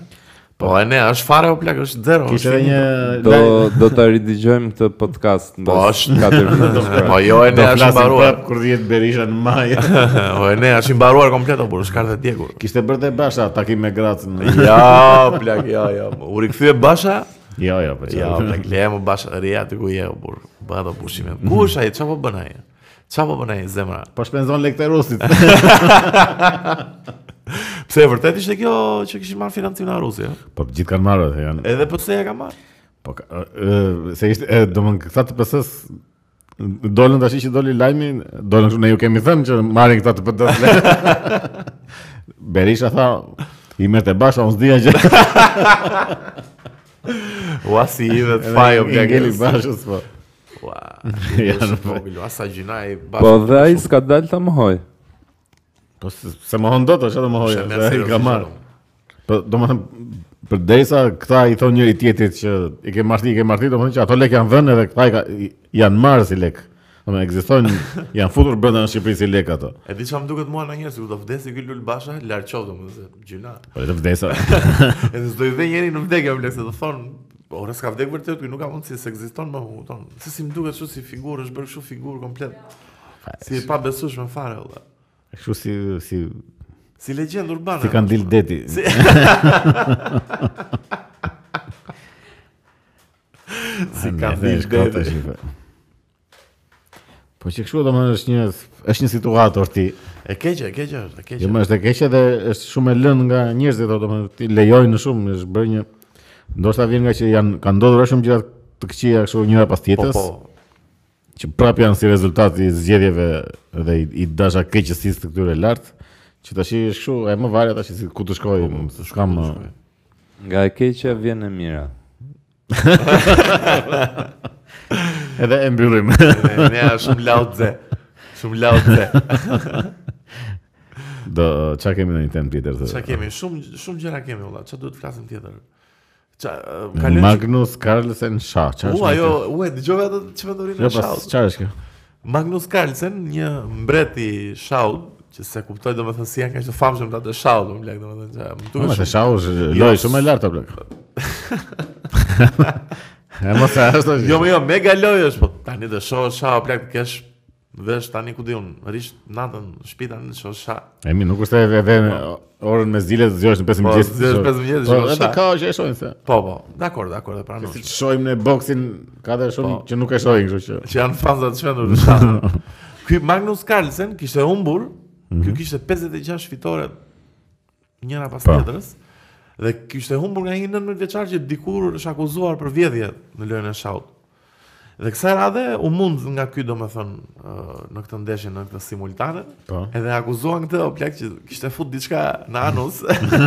Po Enea, është fare o plak, është zero. Kishte është edhe një Do do ta ridigjojmë këtë podcast Po mbas është katër viteve. Po jo do Enea është i flasim mbaruar. prap kur vjet Berisha në maj. O Enea është i mbaruar komplet o burr, shkartë e djegur. Kishte bërë dhe Basha takim me Gracën. Ja, plak, ja, ja. po, U rikthye Basha? Jo, jo, po. Ja, çfarë. plak, leje më Basha ria aty ku je o burr. Bëhet o pushime. Ku është ai? Çfarë po bën ai? Çfarë po bën ai zemra? Po shpenzon lekë të rusit. Pse e vërtet ishte kjo që kishin marrë financim nga Rusia? Po të gjithë kanë marrë atë janë. Edhe pse ja ka marrë? Po ka- ë, ë, se ishte ë, domthon këta të PS-s Dolën tash që doli lajmi, dolën kështu ne ju kemi thënë që marrin këta të PD-s. Berisha tha, i merrte bash, unë s'dija që Ua si i dhe të fajë o ngeli bashës po. Ua, Ja, janë nuk po. mobil, ua sa gjina i bashkë. Po dhe ai s'ka dalë ta mohoj. Po se se mohon dot, është edhe mohoja, Shë se mersi, ai ka Rosi, marrë. shumë. Po domethënë përderisa këta i thon njëri tjetrit që i ke marrë ti, i ke marrë ti, domethënë që ato lek janë dhënë edhe këta i ka, i, janë marrë si lek. Domethënë ekzistojnë, janë futur brenda në Shqipëri si lek ato. E di që më duket mua në njerë, si ku të vdesi ky Lul Basha, larqov të më dhe gjyna. Po të vdesa. Edhe s'do i dhe njeri në vdekja, më se të thonë, ore "Po, s'ka vdek vërtet, ky nuk ka mundësi se ekziston më u tonë. Se si më duket kështu si figurë, është bërë kështu figurë komplet. Si e pa besueshme fare, valla. Kështu si si Si legjendë urbane. si kanë dilë deti. Si Ne, kanë dhe dilë është kota, deti. shqipe. Po që kështu domethënë është një është një situatë orti. E keqe, e keqe është, e Jo keqe. më është e keqe dhe është shumë e lënë nga njerëzit ato domethënë ti lejojnë shumë, është bërë një ndoshta vjen nga që janë kanë ndodhur shumë gjëra të këqija kështu njëra pas Po, tjetrës, po, që prap janë si rezultat i zgjedhjeve dhe i, i dasha keqësisë të këtyre lart, që tash është kështu, e më varet tash si ku të shkoj, po, s'kam shkoj. Nga e keqja vjen e mira. edhe e mbyllim. Ne- ne janë shumë laut ze. Shumë laut ze. Do çka kemi në një temë tjetër Qa të. kemi, shumë shumë gjëra kemi valla. Qa duhet të flasim tjetër? Qa eh, kalojmë Hm, Magnus Carlsen Shah, çfarë? U ajo, u e dëgjove jo, atë çmendorin Jo e pas Shaut. çfarë është kjo? Magnus Carlsen, një mbret i Shaut, që se kuptoj domethënë si janë kaq të famshëm ata të Shaut, më lek domethënë që më Po më duket. të shumë- shau është loj shumë e lartë apo? E mos e ashtu. Jo, më jo, mega loj është, po tani të shoh Shau plak të kesh vesh tani ku diun, rish natën në shtëpi tani të shoh Shau. E mi nuk është e edhe orën me zile të zgjohesh në 5 Po, mëngjes. zgjohesh 5 mëngjesit, Po shikosh edhe shah. ka që e shohin se. Po, po, dakor, dakor, e pranoj. Si të shohim në boksin ka dhe shumë Po. që nuk e shohin, kështu që. që janë fanza të shmendur të shtatë. Ky Magnus Carlsen kishte humbur, ky kishte 56 fitore njëra pas Mhm. Po. tjetrës dhe kishte humbur nga një 19 vjeçar që dikur është akuzuar për vjedhje në lojën e shaut. Dhe kësaj radhe u mund nga ky domethënë ë, në këtë ndeshje në këtë simultane. Po. Edhe akuzuan këtë o plak që kishte fut diçka në anus.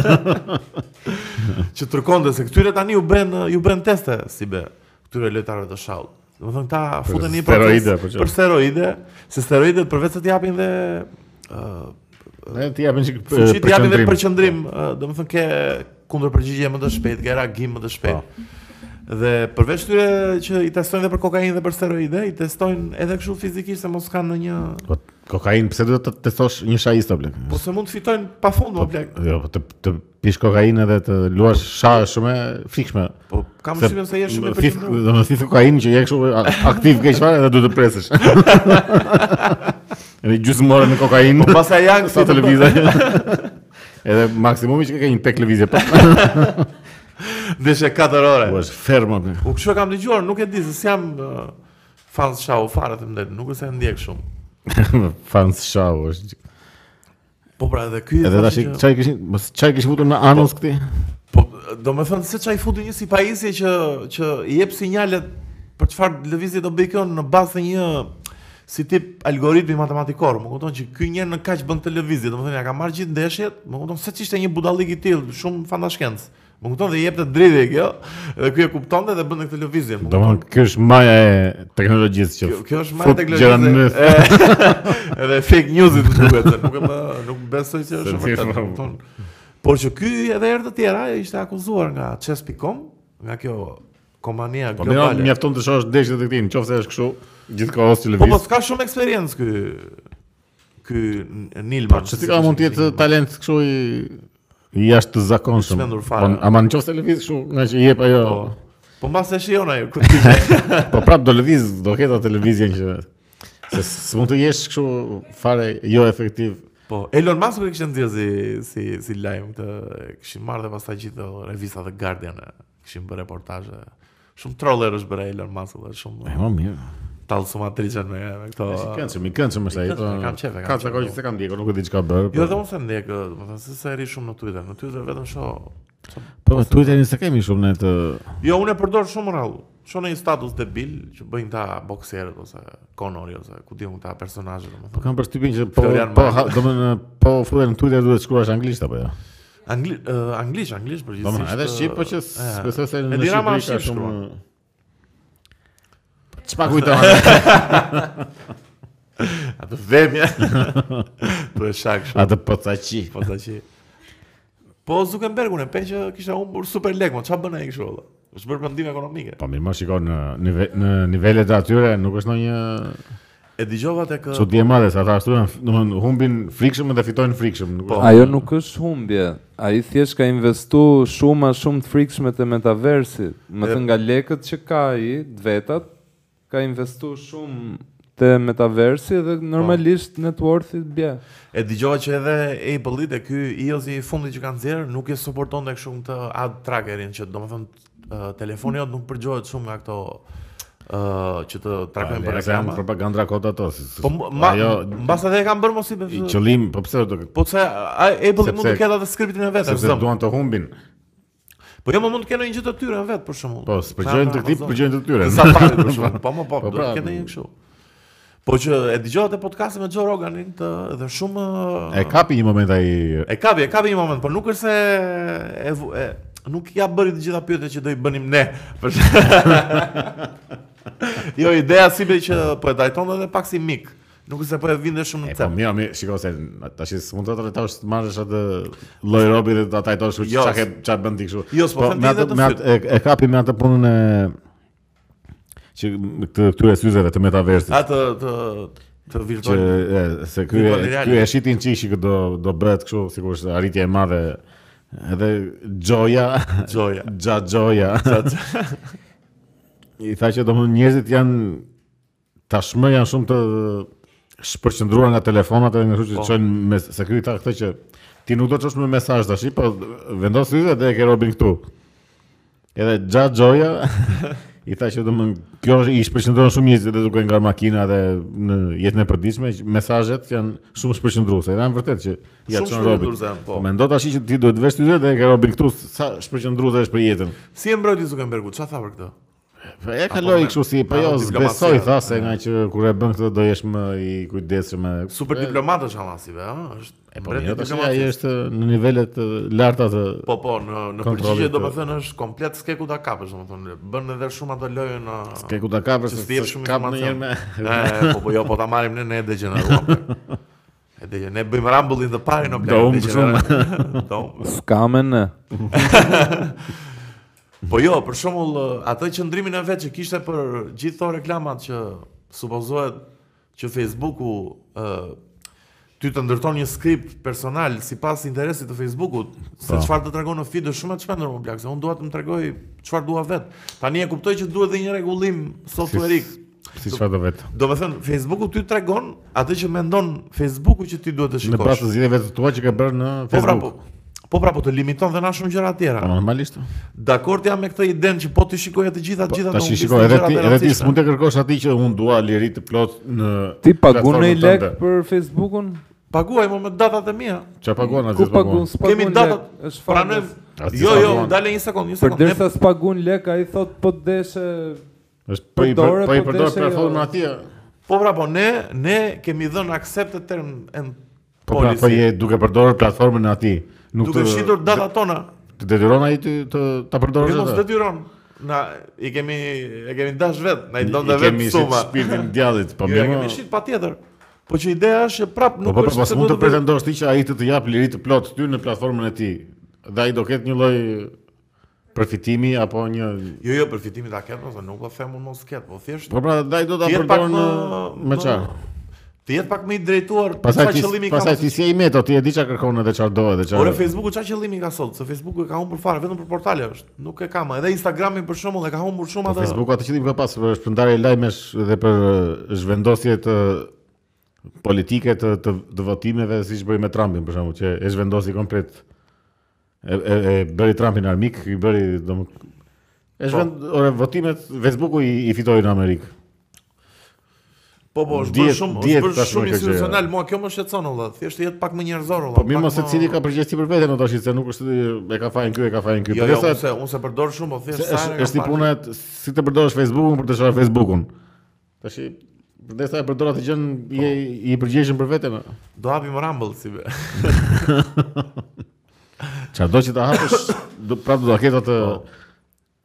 që tërkonte se këtyre tani u bën ju bën teste si be këtyre lojtarëve të shaut. Domethënë këta futen në një proces steroide, po që? për steroide, se steroidet përveç se të japin dhe ë Ne ti japin çik fuqi të japin dhe përqendrim. përqendrim, ë, domethënë ke kundërpërgjigje më të shpejtë, ke reagim më të shpejtë. Po. Dhe përveç tyre që i testojnë dhe për kokainë dhe për steroide, i testojnë edhe kështu fizikisht se mos kanë ndonjë Po kokainë pse duhet të testosh një shahist apo? Po se mund të fitojnë pafund më plak. Jo, po të të pish kokainë edhe të luash shah është shumë e frikshme. Po kam përshtypjen se je shumë i thith, përqendruar. do të thith kokainë që je kështu a- aktiv ke çfarë edhe duhet të presësh. Edhe gjysmë ore me kokainë. Po pastaj janë Sa këto televizor. Edhe maksimumi që ka një tek lëvizje pa. Ndeshje 4 ore. Po është ferm aty. U kështu e kam dëgjuar, nuk e di se si jam uh, fan shau fare të mbet, nuk është se e ndjek shumë. Fans show është. Po pra edhe ky Edhe tash që- çaj kishin, mos çaj kishin futur në anus këti? po do të thënë se çaj futi një si pajisje që që i jep sinjalet për çfarë lëvizje do bëj kjo në bazë të një si tip algoritmi matematikor, më kupton që ky njerë në kaq bën të lëvizje, domethënë ja ka marrë gjithë ndeshjet, më kupton se ç'ishte një budallik i tillë, shumë fantashkenc. Më kupton dhe i jep të dritë kjo, dhe ky e kuptonte dhe bën këtë lëvizje. më kupton? Domthon kjo është maja e teknologjisë që. Kjo, kjo është marrë fut gjëra në myth. teknologjisë. E- Edhe fake news-it më duket, se nuk e më nuk besoj se Se po. është ti vërtet. thua. kupton? Por që ky edhe herë të tjera ishte akuzuar nga chess.com, nga kjo kompania Po mira, globale. mjafton të shohësh deshjet e këtij, nëse është kështu, gjithkohës që Po po lëviz. s'ka shumë eksperiencë ky ky Po Nilman. çti ka mund të jetë talent kështu i i jashtë të zakonshëm. Shmendur Po fare. ama nëse lëviz kështu, nga që i jep ajo. Po. Po mbas e shijon ajo ku ti. Po prap do lëviz, do ketë atë televizjen që se s'mund të jesh kështu fare jo efektiv. Po Elon Musk e kishte nxjerr si si si lajm këtë e kishin marrë dhe pastaj gjithë revistat The Guardian e kishin bërë reportazhe. Shumë troller është bërë Elon Musk dhe E shumë më mirë. tallsumatriçe me me këto. Si këndshëm, i këndshëm është ai. po, i këndshëm, kam qef, e kam Ka qef. po. sa kohë që se kam ndjekur, nuk e di çka bër. po. Jo dhe unë se ndjek, do të thënë se se ri shumë në Twitter, në Twitter vetëm shoh Po, Twitter-in se kemi shumë ne të... Jo, unë e përdor shumë rrallu. Shonë një status debil që bëjnë ta bokserët ose Conori ose ku diun ta personazhet Po domethënë. kam përshtypjen që po Florian po Marko. ha- do më në po ofruhen në Twitter duhet shkruash anglisht apo jo? Angli uh, anglisht, anglisht Do më përgjithsisht. edhe shqip po që e, s'besoj se e në di Rama Shqipëri ka shqip shumë shkruan. Çpa kujtohet? atë vemja. tu e shak shumë. Atë pocaqi. Po ta që Po Zuckerbergun e pe që kishte humbur super lek, mo çfarë bën ai kështu valla? Është bërë pandemi ekonomike. Po mirë, më shikon në nive- në nivelet e atyre nuk është ndonjë E dëgjova tek ë, çudi e madhe se ata ashtu janë, domethënë humbin frikshëm dhe fitojnë frikshëm. nuk Po. është- Ajo nuk është humbje. Ai thjesht ka investu shumë a shumë të frikshme të metaversit. Më E- të nga lekët që ka ai, të vetat, ka investu shumë te metaversi dhe normalisht net worth-i bje. e dëgjova që edhe Apple-i te ky iOS-i i fundit që kanë nxjerr nuk e suportonte kështu këtë ad trackerin që domethënë ë, telefoni jot nuk përgjohet shumë nga këto ë që të trakojnë për Alexa, janë reklama. propaganda kod ato. si- si- Po m- ma, ajo mbas edhe e kanë bërë mos i i bëj. qëllim, po pse do të Po pse Apple mund të Sepse- ketë atë skriptin e vet, sepse duan të humbin. Po jo, më mund të kenë një gjë të tyre vet për shembull. Po, s'përgjojnë të këtij, Amazon. përgjojnë të tyre. Të Safari për shkak. Po, po, po, Po, do pra, të ketë një kështu. Po që e dëgjova te podcasti me Joe Roganin të dhe shumë E kapi një moment ai e kapi, e kapi një moment, por nuk është se e, vu- e nuk ja bëri të gjitha pyetjet që do i bënim ne. Për shemb- jo, ideja si be që po e dajton edhe pak si mik. Nuk është se po e vinde shumë E në po cep. mirë, mirë, shiko se tash s'mund të trajtosh të marrësh atë lloj robi dhe ta trajtosh kështu Jo, çka ke çfarë bën ti kështu. Po, Jo, s'po them me ti atë dhe të me atë e, e kapi me atë punën e që këtë këtyre syzeve të metaversit. Atë të të Që virtual. e, se ky e- virtual reality. ky e shitin çishi që do do bëhet kështu sigurisht arritje e madhe edhe Joja, Joja. Xha Joja. I tha që domthonjë njerëzit janë tashmë janë shumë të shpërqendruar nga telefonat edhe nga kështu Po. që çojnë me se ky tha këtë që ti nuk do të çosh me mesazh tash, po vendos syze dhe e ke Robin këtu. Edhe Xha Joja i tha që domthon kjo është- i shpërqendron shumë njerëzit edhe duke nga makina dhe në jetën e përditshme që mesazhet janë shumë shpërqendruese. Janë vërtet që ja Shumë çon Robin. shpërqendruese janë, po. Po mendo tash që ti duhet të vesh syze dhe e ke Robin këtu sa shpërqendruese është për jetën. Si e mbrojti Zuckerbergu? Çfarë tha për këtë? Po e kaloi me- kështu si, po me jo, atë zbesoj diplomacia. tha se nga që kur e bën këtë do jesh më i kujdesshëm. me- Super diplomat është Hamasive, ëh, është e Po mirë, mbretit tash diplomat. ai është në nivele të larta të Po po, në në Kontrolli përgjigje të- domethënë është komplet skeku ta kapësh domethënë. Bën edhe shumë ato lojë në ke ku ta kapësh që se- s'jep se shumë kap në informacion. me E, po po jo, po ta marrim ne ne e degeneruam. plak. E dege, ne bëjmë Rumble in the Party në plan. Do humbë Do. humbë. Skamen e. Po jo, për shembull atë qëndrimin e vet që kishte për gjithë këto reklamat që supozohet që Facebooku ë ty të ndërton një skript personal sipas interesit të Facebookut, se Po. çfarë të tregon në feed është shumë e çmendur më plak, se unë dua të më tregoj çfarë dua vet. Tani e kuptoj që duhet dhe një rregullim softwareik. si çfarë do vetë. Do me thënë, Facebooku ty tregon atë që mendon Facebooku që ti duhet të Në pas të shikosh. zgjidhjeve të tua që ke bërë në Po pra, po, Facebook. po pra, po të limiton dhe na shumë gjëra tjera. Po normalisht. Dakord jam me këtë idenë që po të shikoja të gjitha të gjitha do Tash më shiko kishin edhe gjëra të ti edhe ti rëndësishme. s'mund të kërkosh atij që unë dua liri të plot në Ti pagun në i platformën lek tënde. për Facebookun? Paguaj më me datat e mia. Çfarë paguan atë? Ku pagun? S'pagun Kemi lek, datat. është Pra farë. ne As ti Jo, sa jo, duan. dale një sekond, një Për sekond. derisa s'pagun lek, ai thot po të deshe Është po i Përdore, po i po përdor deshe, platformën jo. atje. Po pra, po ne ne kemi dhënë accept të term and Po pra, po policy. je duke përdorur platformën atij. Nuk Duke të- Po, shitur datat tona. Të detyron ai ty të ta Ju përdorësh mos atë. detyron. Na i kemi e kemi dash vet, na i donte I vet kemi si suma. shpirtin e djallit, po Ju mirë. e Jo, kemi mo- shit patjetër. Po që ideja është që prap Po nuk po po, është pas se mund të duhet bëj- pretendosh ti që ai të të jap liri të plot ty në platformën e tij. Dhe ai do ketë një lloj përfitimi apo një Jo, jo, përfitimin ta ketë, ose nuk po them unë mos ket, po thjesht Po pra, daj do ta Ti jetë përdor pak në më- me më- çfarë? të jetë pak më i drejtuar për Pastaj çfarë ti qëllimi ka. pastaj ti si e i meto, ti e di çfarë kërkon edhe çfarë do edhe Ore çfarë. Facebooku çfarë qëllimi ka sot? Se Facebooku e ka humbur fare vetëm për portale është. Nuk e ka më. Edhe Instagrami për shembull e ka humbur shumë Po atë. Facebooku atë qëllim ka pas për shpërndarje lajmesh dhe për eh, zhvendosje të politike të të, të votimeve siç bëri me Trumpin për shembull, që e zhvendosi komplet e, e, e bëri Trumpin armik, i bëri domo Po. e zhvend ore votimet Facebooku i, i fitoi në Amerikë. Po Po po, është bërë Dihet- shumë, është dihet bërë tashmë shumë kjo gjë. institucional, mua kjo më shqetëson valla. Thjesht jetë pak më njerëzor valla. Po mirë mos secili ka përgjegjësi për veten, do tash se nuk është e ka fajin ky, e ka fajin ky. Jo, Por jo, sa unë se, unë se përdor shumë, po se thjesht sa është herë është i kam puna e t- si të përdorësh Facebook-un për të shohur Facebook-un. Tash përderisa e përdor atë gjën je i përgjegjshëm për veten. parë. Do hapim Rumble si be. Çado që ta hapësh, do prapë do ta ketë atë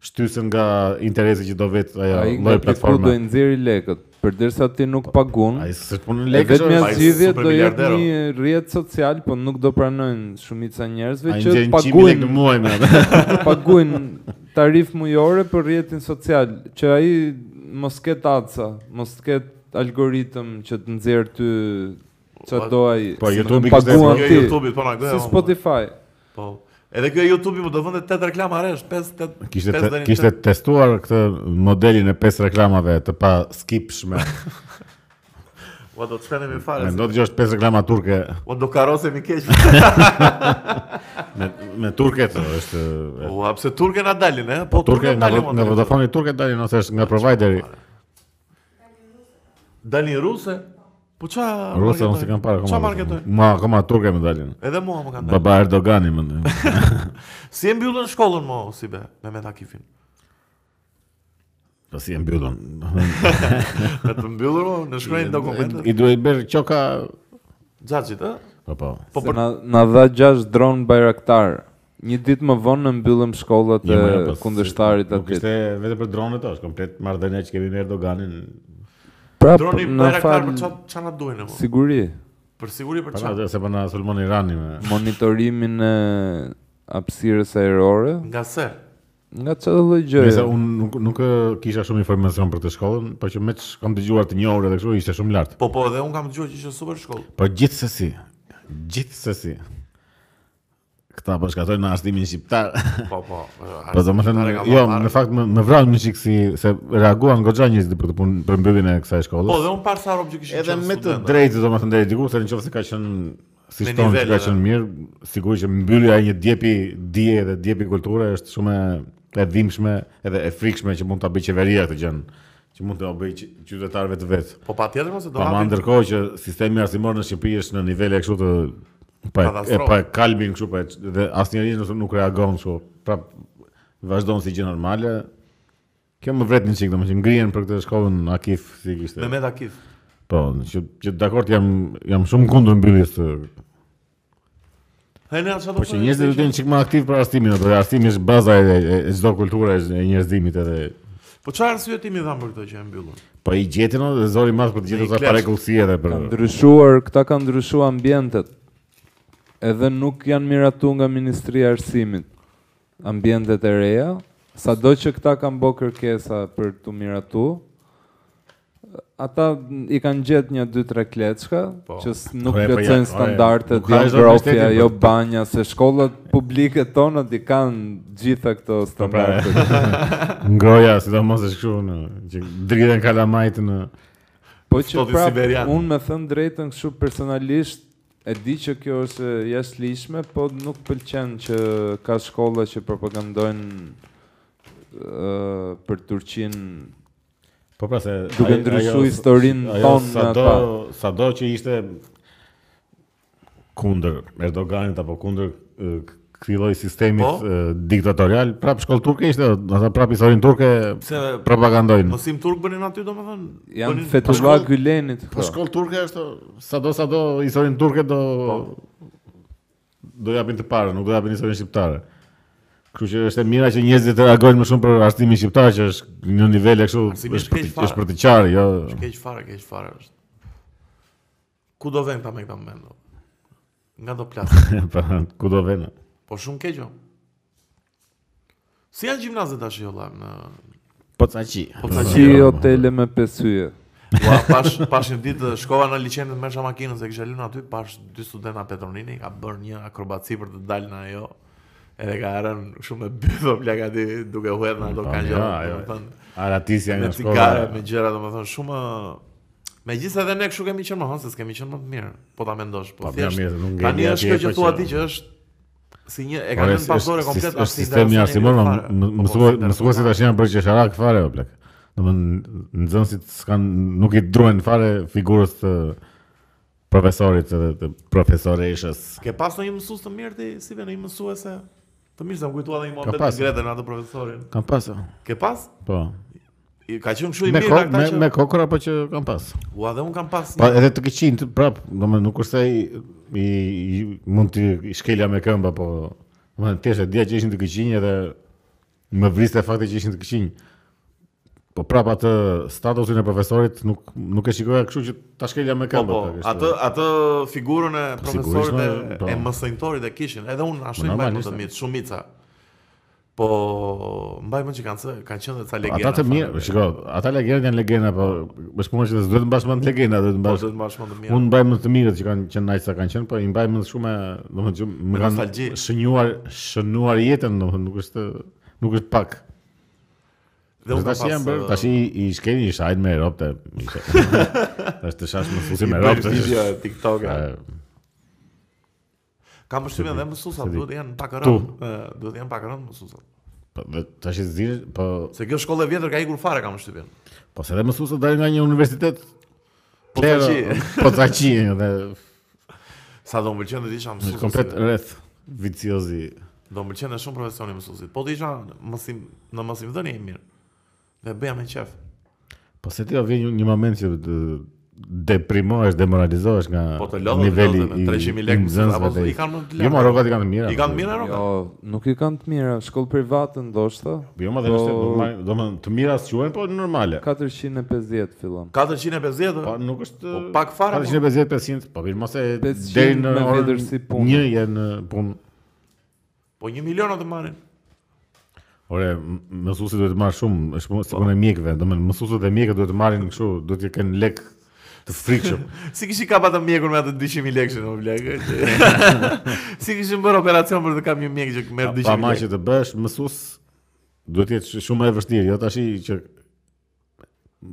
shtysën nga interesi që do vet ajo Po. Ai nga Jo, lloj platforma do platforme. Po, i nxjerrë lekët, përderisa ti nuk pagun. Ai s'është punë E lekësh. vetëmja është- ai zgjidhje do jetë supermiliardero. një rrjet social, po nuk do pranojnë shumica njerëzve Ai që ndjen 100 lekë paguajnë në muaj me atë. paguajnë tarif mujore për rrjetin social, që ai mos ketë atsa, mos ketë algoritëm që të nxjerr ty çfarë do ai. Po, Si YouTube-i më kishte- paguan Jo ti, YouTube-it po na gjoja. Si Spotify. Po. Edhe kjo YouTube-i po do vënte tet reklama rresh, 5 8 Kishte te, kishte testuar këtë modelin e pesë reklamave të pa skipshme. Ua do të shpenemi fare. se- Mendo që është pesë reklama turke Ua do karosemi keq. me me turket është e, Ua pse turke na dalin, e? Po turke nga dalin, Vo- mo, nga drejt. Vodafone turke dalin ose është nga provideri. Dalin ruse? Po qa... Rusë unë marketojnë? s'e kam parë Qa akoma. marketojnë? Ma akoma turke më dalin. Edhe mua më kanë dalë. Baba Erdogani më ndjen. Si e mbyllën shkollën mo, si be, me me takifin. Po si e mbyllën. Me të mbyllur mo, në shkruajnë I dokumentet. duhet bërë qoka. Gjaxhit, e? Po po. Po Se për... na, na dha 6 dron bajraktar. Një ditë më vonë në mbyllëm shkollat Jo, e më jo, po, kundështarit Nuk aty. ishte vetëm për dronet, është komplet marrëdhënia që kemi me Erdoganin. Pra, Droni na bajraktar fal për qa, qa na duhen e mo? siguri, Për siguri për Po qa? na se po na sulmon Irani me. monitorimin e hapësirës ajrore, Nga se? nga çdo lloj Nëse gjëje. unë nuk, nuk e kisha shumë informacion për të shkollën, po që me që kam dëgjuar të njohur edhe kështu ishte shumë lart. Po po, edhe unë kam dëgjuar që ishte super shkollë. Po gjithsesi, gjithsesi. Këta po shkatojnë në arsimin shqiptar. Po po. e, Po do të thënë, arsiktare ka jo, marrë. në fakt më, më vrau një çik si se reaguan goxha njerëz për të punë për mbylljen e kësaj Po, shkollës. dhe unë parë sa rob që kishin Edhe qenë me të studenta. drejtë do të thënë deri diku se nëse ka qenë si Me shtonë që nivele, ka qenë mirë, sigurisht që mbyllja e një djepi dije dhe djepi kulture është shumë e- e dhimbshme edhe e frikshme që mund ta bëj qeveria këtë gjën, që mund ta bëj qy- qytetarëve të vet. Po pa tjetër mos e do Pa ma hapim. ndërkohë që sistemi arsimor në Shqipëri është në nivele kështu të pa e, Katastrofë. pa e kalbin kështu pa e, dhe asnjëri nuk nuk reagon kështu. Prap vazhdon si gjë normale. Kjo më vret një çik domethënë ngrihen për këtë shkollën Akif si Me kishte. me takif. Po, që, që dakord jam jam shumë kundër mbylljes të Hënë atë çfarë do Po që njerëzit do të jenë çik më aktiv për arsimin, apo arsimi është baza e e- e çdo kulture e e njerëzimit edhe Po çfarë arsye ti më dhan për këtë që e mbyllën? po i gjetin o, dhe zori mas për të gjetur i sa klesh. parekullsi edhe për Kanë ndryshuar, këta kanë ndryshuar ambientet. Edhe nuk janë miratu nga Ministria e Arsimit. Ambientet e reja, sado që këta kanë bë kërkesa për të miratu, ata i kanë gjetë një dy tre kleçka Po. që s- nuk Ore, po plotësojnë ja, ore, standardet nuk ka asgjë geografia, mbështetje, jo po. banja, se shkollat publike tona i kanë gjitha këto Po pra, standarde. Ngoja, sidomos është kështu në që dridhen kalamajt në Po që Shtoti prap, siberian. unë me thënë drejtën kështu personalisht, e di që kjo është jashtë lishme, po nuk pëlqen që ka shkolla që propagandojnë ë, për Turqin Po pra se Duke ai- ndryshu ajo- historinë ajo tonë nga Sado, ta. sado që ishte kundër Erdoganit apo kundër eh, k- këtij lloj sistemi Po. diktatorial, prap shkollë turke ishte, ata prap historinë turke Pse propagandojnë. mësim Po, turk bënin aty domethënë? janë bënin- Fethullah Gülenit. Po këto. shkollë turke është sado sado historinë turke do Po. do japin të parë, nuk do japin historinë shqiptare. Kështu që është e mira që njerëzit reagojnë më shumë për arsimin shqiptar që është në nivele kështu Arsimi është për keq të- fare. është për të qarë, jo. Keq fare, keq fare është. Ku do vend ta me këta mendo? Nga do plas. Pa, pra, ku do vënë? po shumë keq o. Si janë gjimnazet tash jo valla në Po ca qi. Po ca qi. Qi hotele me pesyje. Ua, pash pash një ditë shkova në liçenin e Mersha Makinës e kisha lënë aty pash dy studenta Petronini ka bërë një akrobaci për të dalë në ajo. Edhe ka rënë shumë me bythë plak aty duke huet në ato Po, kanë ja, ajo. gjë. Aratis janë Me nga shkolla. cigare, me gjëra, domethënë shumë Me gjithë edhe ne kështu kemi qenë më hënë, se s'kemi qenë më të mirë, po ta mendosh, po Po, thjesht, mirë, mirë, nuk ngeli tani është atje, kjo që po thua që- Po, ti që është si një, e Ore, ka lënë s- pasore s- komplet Po, Është sistemi arsimor, ma- më- mësuesit tash janë bërë qesharak fare o plak. domethënë nxënësit s'kan nuk i druhen fare figurës të profesorit edhe të profesoreshës. Ke pas ndonjë mësues të mirë ti, si vjen një mësuese? Të mirë se më kujtuat një Ka moment me pas. Gretën atë profesorin. Kam pas. o. Ke pas? Po. I ka qenë kështu i Me mirë kokë, nga me, këta që me kokër apo që kam pas. Ua, dhe un kam pas. Pa një- edhe të këqin të prap, domethënë nuk është se i, i, i- mund të i shkelja me këmbë apo domethënë thjesht e dia që ishin të këqinj edhe më vriste fakti që ishin të këqinj. Po prap atë statusin e profesorit nuk nuk e shikoja kështu që ta shkelja me Po, këmbë. po, ta kështu. atë atë figurën e profesorit e, sigurisht, po. e mësënjtorit e kishin. Edhe unë ashtu Po, i mbaj normalisht, më të mirë, shumica. Po mbaj më që kanë se- kanë qenë dhe ca legjenda. Po, Ata të fare. mirë, shiko, ata legendat janë legenda, po është puna që duhet të mbash mend legenda, duhet të Po mbash. do të mbash më të mirë. Unë mbaj mend të mirët që kanë qenë nice sa kanë qenë, po i mbaj mend shumë, domethënë që më nostalgji. kanë shënuar shënuar jetën, domethënë nuk është nuk është pak. Dhe unë kam tash pas. jam bërë, uh, tash i, i shkeni i shajt me ropte. i shaj- Tash të shash më fusi i me bërë ropte. video e TikTok. Eh, Kam përshtypjen dhe mësuesat se di. duhet të janë pak rënd. Tu. eh, Duhet të janë pak rënd mësuesat. Po dhe tash i zirë, po Se kjo shkollë e vjetër ka ikur fare kam përshtypjen. po se edhe mësuesët dalin nga një universitet. Po Klero, taqi. Po taqi, edhe Sa do më pëlqen të isha mësues. komplet rreth viciozi. Do më pëlqen shumë profesioni i mësuesit. Po të isha në mësim në mësimdhënie e mirë. Dhe bëja me qef. Po se ti vjen një, një moment që të deprimohesh, demoralizohesh nga Po të lodhëm, niveli lodhëm, i 300.000 lekë, nxënësve apo të- i kanë më të Jo, lartë. ma rrogat i kanë të mira. po. I kanë mirë roka. Jo, nuk i kanë të mira, shkollë private ndoshta. Jo, ma dhe po, është normal, domethënë të mira quhen, po normale. 450 fillon. 450. Po ë? nuk është Po, pak fare, po. 450 500, po mirë mos e 500 deri në me orën vjetërsi punë. 1 janë punë. Po 1 milion atë marrin. Ore, m- mësuesi duhet të marr shumë, është punë si punë e mjekëve, domethënë mësuesët e mjekëve duhet të marrin kështu, duhet të kenë lek të frikshëm. Si kishin kapat të mjekun me atë 200.000 lekë në blek. si kishin bërë operacion për të kam një mjek që merr Pa ma 200.000 që lekë. të bësh mësues duhet të jetë sh- shumë e vështirë, jo tashi që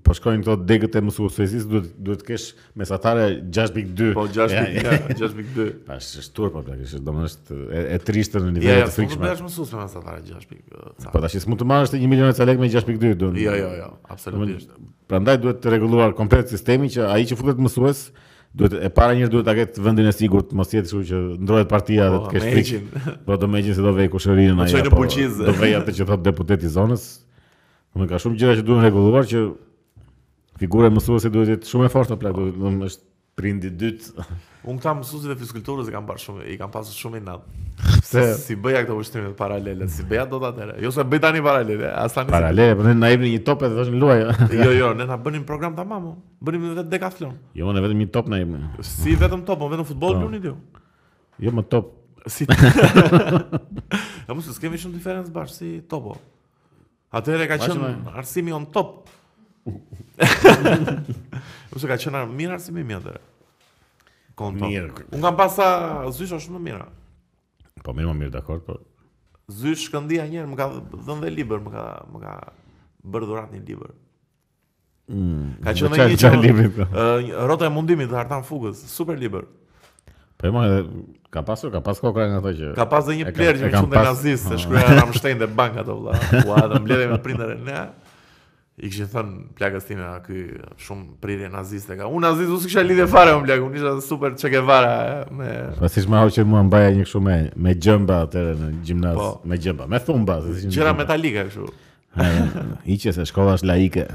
po shkojnë këto degët e mësuesisë, duhet duhet të kesh mesatare 6.2. Po 6.2, 6.2 Tash është turp apo plakësh, domethënë është e, e trishtë në Ja, ja, nivele po, të s'u të frikshme. bësh mësues me mesatare 6.2 Po tash s'mund të marrësh të 1 milion e ca lekë me 6.2 do. Jo, jo, jo, absolutisht Prandaj duhet të rregulluar komplet sistemi që ai që futet mësues duhet e para njërë duhet ta ketë vendin e sigurt, mos jetë kështu që ndrohet partia dhe Po, të kesh me frikë. heqin. Po do më gjin se do vej kushërinë Po, ai. çoj në apo bulqizë. Do vej atë që thot deputeti i zonës. Domethënë ka shumë gjëra që duhen rregulluar që figura e mësuesit duhet të jetë shumë e fortë apo domethënë është prindi i dytë. Unë këta mësuesit e fizikulturës i kam parë shumë, i kam pasur shumë inat. Pse Si bëja këto ushtrimet paralele, si bëja dot atëre. Jo se bëj tani paralele, as tani. se- paralele, po ne na jepni një top edhe vazhdon luaj. Jo, jo, ne na bënim program tamam. o. Bënim vetë dekathlon. Jo, më vetëm një top na jepni. Si vetëm top, o, vetëm futboll Po. luni ti. o. Jo, më top. Si. Ja mos s'kemi shumë diferencë bash si topo. Atëherë ka Vazhdo, qenë arsimi on top. Ose ka qenë ar- mirë arsimi mi atëherë. Kon top. Mirë. Unë kam pasa zysha shumë të mira. Po mirë, më mirë, dakor, po. Zysh këndia një herë më ka dhënë dhe libër, më ka më ka bërë dhuratë një libër. Mm, Ka qenë Qa- dhe një qa që- libri, po? Ë, një- Rrota e mundimit të Artan Fugës, super libër. Po e ma, edhe ka pasur, ka pas kokra nga ato që. Ka pas dhe e një ka- plerë që e më kam qënë dhe pas- nazist, se Ah. shkruja Ramstein dhe bank ato vëlla. Ua, dhe mbledhe me prindër e ne. I kishin thënë plakës time, a ky shumë prirje naziste ka. Unë nazist, unë s'kisha lidhje fare me plakë, unë isha super Che Guevara e, me Po siç më hau që mua mbaja një kështu me me gjëmba atëre në gjimnaz, Po. me gjëmba, me thumba, se si. gjëra metalike kështu. Hiqe se shkolla është laike.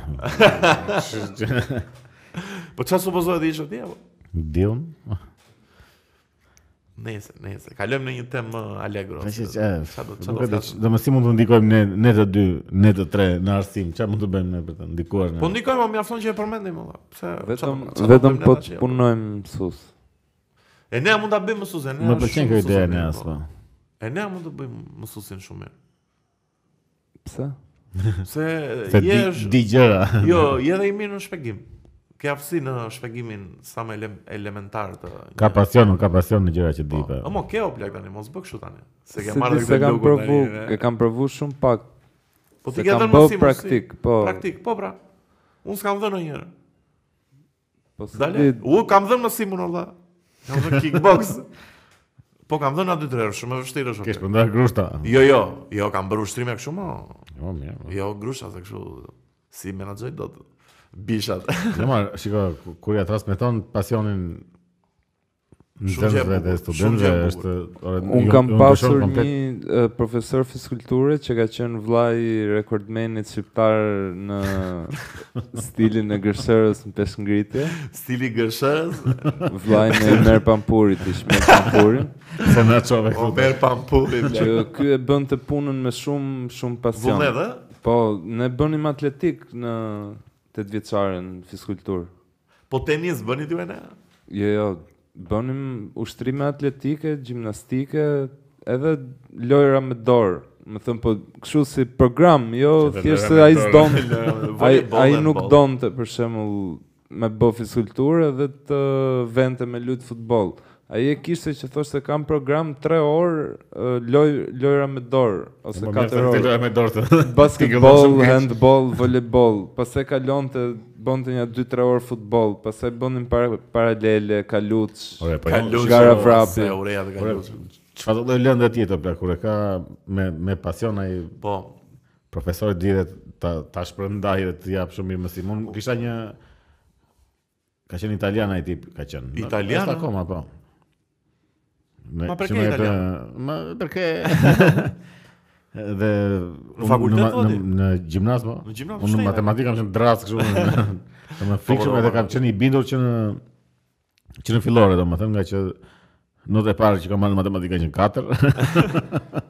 Po çfarë supozohet të ishte atje? po? Diun. Nëse, nëse, kalojmë në një temë më allegro. Tash se- që e, çfarë do- çfarë nuk do e di, flasim? do më si mund të ndikojmë ne ne të dy, ne të tre në arsim, çfarë mund të bëjmë ne për të ndikuar Po në. ndikojmë, po mjafton që e përmendim valla. Pse Vetëm çfarë- çfarë do vetëm bëjmë ne po tash, të ja? punojmë mësues. E ne mund ta bëjmë mësuesin. Më pëlqen kjo ide ne as po. E ne mund të bëjmë mësuesin shumë mirë. Pse? Se Se di, je është- di gjëra. Jo, je edhe i mirë në shpjegim. Ke aftësi në shpjegimin sa më ele elementar të. Ka pasion, nuk ka pasion në gjëra që di po. Po, mo, ke o plak tani, mos bë kështu tani. Se ke di marrë se këtë kam lukun provu, e tani. kam provu shumë pak. e. Po se ti ke kam dhënë bë mësim praktik, po. Praktik, po pra. Unë s'kam dhënë ndonjëherë. Po se Dale. di, U kam dhënë mësim unë valla. Kam dhënë kickbox. po kam dhënë aty tre herë, shumë e vështirë është. o, Kesh plak. përndar grushta. Jo, jo, jo, kam bërë ushtrime kështu, mo. Jo, mirë. Jo, grusha se kështu. si menaxhoj dot bishat. Në marë, shiko, ku- kur ja transmeton pasionin në Shumë gjë e zënësve dhe bukur, shumë gjë studentëve, e bukur. është... ore, Un ju- kam ju ndryshon pasur komplet. një e, profesor fizikulture që ka qenë vllai i rekordmenit shqiptar në stilin e gërshërës në peshngritje, Stili gërshës, vllai me Mer Pampurit, ish Mer Pampurin, Se na çove këtu. Omer Pampuri, që ky e bënte punën me shumë shumë pasion. vullnet, ë? Po, ne bënim atletik në 8 vjeçare në fizikulturë. Po tenis bëni ti ne? Jo, jo, bënim ushtrime atletike, gjimnastike, edhe lojra me dorë. Më thëmë, po, kështu si program, jo, Që të thjesht se lojra me ai dorë. s'donte. Ai Volleyball, ai handball. nuk donte për shembull me bë fizikulturë dhe të vente me lut futboll. Ai e kishte që thoshte kam program 3 orë eh, loj, lojra me dorë ose Po, mirë, se 4 ti orë. loja me dorë. Basketball, handball, volleyball, pastaj kalonte bonte një 2-3 orë futboll, pastaj bonin para paralele, kaluç. Ore, po. Kaluç, jo, Gara o, vrapi. se urea të kaluç. Çfarë do lëndë tjetër pra kur e ka me me pasion ai Po, profesori dire ta ta shpërndaj dhe të jap shumë mirë mësim. Unë kisha një ka qenë italian ai tip, ka qenë. Italian, a? Është akoma po. Ne Ma përke kishim edhe- Ma përke dhe unë fakultet, në, ma- vodi? në, në gjimnaz po. Në gjimnaz, Unë në shtejnë, matematikë kam qenë dras kështu. Domethënë fikshëm po, edhe po. kam qenë i bindur që në që në fillore domethënë nga që Notë e parë që kam marrë në matematikë ka qenë 4.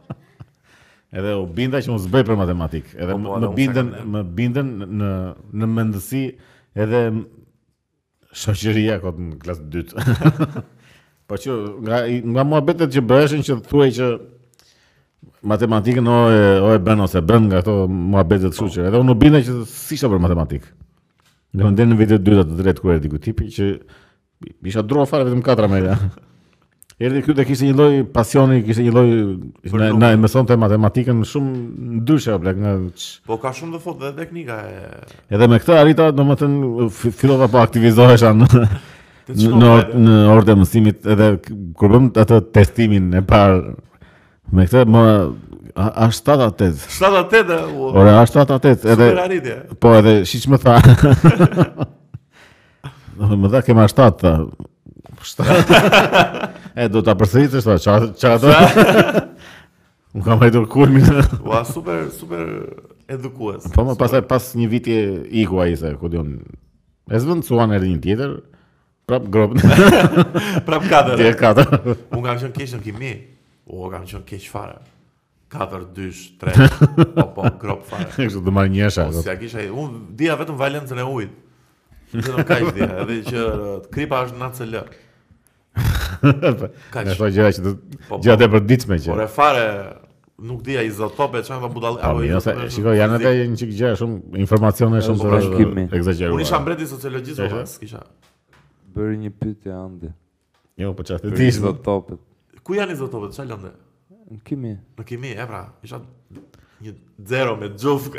Edhe u binda që mos bëj për matematikë. Edhe Po, po, më- edhe më unë binden s'e kam më binden në në mendësi edhe m- shoqëria kot në klasë dytë. po që nga i- nga muhabetet që bëheshin që thuaj që matematikën o e, o e bën ose bën nga ato muhabetet kështu që edhe unë u binda që s'ishte për matematikë. Dhe më ndenë në vitet dyta të drejtë kur erdi ky tipi që isha dro fare vetëm katra me ila. Erdi këtu dhe kishte një lloj pasioni, kishte një lloj Për na, numër. na e mësonte matematikën shumë ndryshe apo nga ç- po ka shumë të thotë dhe teknika e edhe me këtë arrita domethënë fi- fillova po aktivizohesha në Të në çmoj, në vete. orë- në orët e mësimit edhe k- kur bëm atë testimin e parë me këtë më a 7-8 7-8 e, u ora a 7-8 edhe super arritje. Po edhe shiq më tha. Do më dha kema 7 tha. 7. e do ta përsëritësh tha, çfarë çfarë do? Unë kam hajtur kulmin. Ua super super edukues. po më pasaj pas një viti iku ai se ku diun. E zvendësuan edhe një tjetër. Prap grop Prap 4. tjetër katër. Unë kam qenë keq në kimi. O, kam qenë keq fare. 4, 2, 3, po, po, grop fare. Kështu do marr njësha. Po, si ja kisha, unë dija vetëm valencën e ujit. Vetëm kaq dija, edhe që uh, kripa është në ACL. Ne ato gjëra që do po. gjëra të përditshme që. Por e fare, nuk dija izotope, çan ta budall. Po mirë, se shikoj janë edhe një çik gjëra shumë informacione po, shumë të shikimi. egzageruara. Unë isha mbreti i sociologjisë, po, Ishe? s'kisha. Bëri një pyetje Andi. Jo, po çfarë për ti çdo topet. Ku janë izotopet? Çfarë lëndë? Në kimi. Në kimi, e pra, isha një zero me gjufë.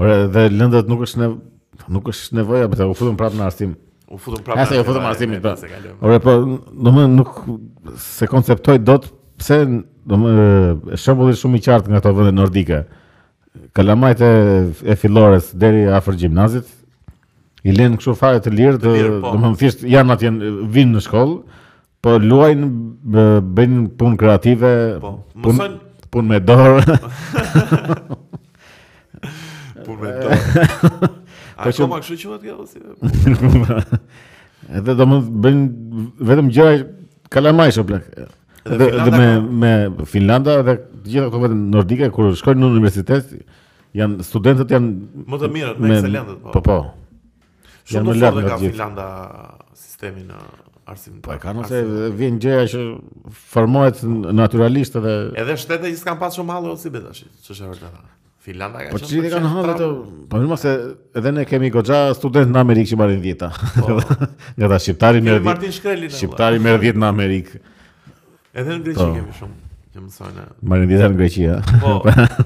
Ore, dhe lëndët nuk është ne nuk është nevoja për ta u futëm prapë në arsim. U futëm prapë. Ja se u futëm në arsim. po. se kalojmë. Ore, po, domethënë nuk se konceptoj dot pse domethënë shembulli është shumë i qartë nga ato vende nordike. Kalamajt e, e fillores deri afër gjimnazit i lënë kështu fare të lirë, të, lirë, po. domethënë thjesht janë atje vinë në shkollë, po luajnë bë- bëjnë punë kreative, Po, punë mësojnë- punë me dorë. Punë me dorë. A Po që- koma kështu quhet kjo si? Edhe do më bëjnë vetëm gjëra kalamajsh o plak. Edhe, edhe Finlanda me, ka- me Finlanda dhe të gjitha këto vete nordike, kur shkojnë në universitet, janë studentët janë... Më të mirët, më me- ekselentët, po. Po, po. Shumë Janë më më lartë lartë nga ka të gjithë. Finlanda sistemin në arsim. Po e kanë se arsim. vjen gjëja që formohet n- naturalisht edhe... Edhe shtete i s'kan pas shumë hallo si be tash. Ç'është e vërteta. Finlanda ka Po qenë që i për kanë qenë hallë ato... trap. Po mirë se edhe ne kemi goxha student në Amerikë që marrin djeta. Nga ta shqiptari Po. Kemi merë Martin djetë. Shkrelin. e Shqiptari merë djetë në Amerikë. vëlla. Edhe në Greqi Po. kemi shumë që mësojnë. Marrin djeta në Greqia. Po,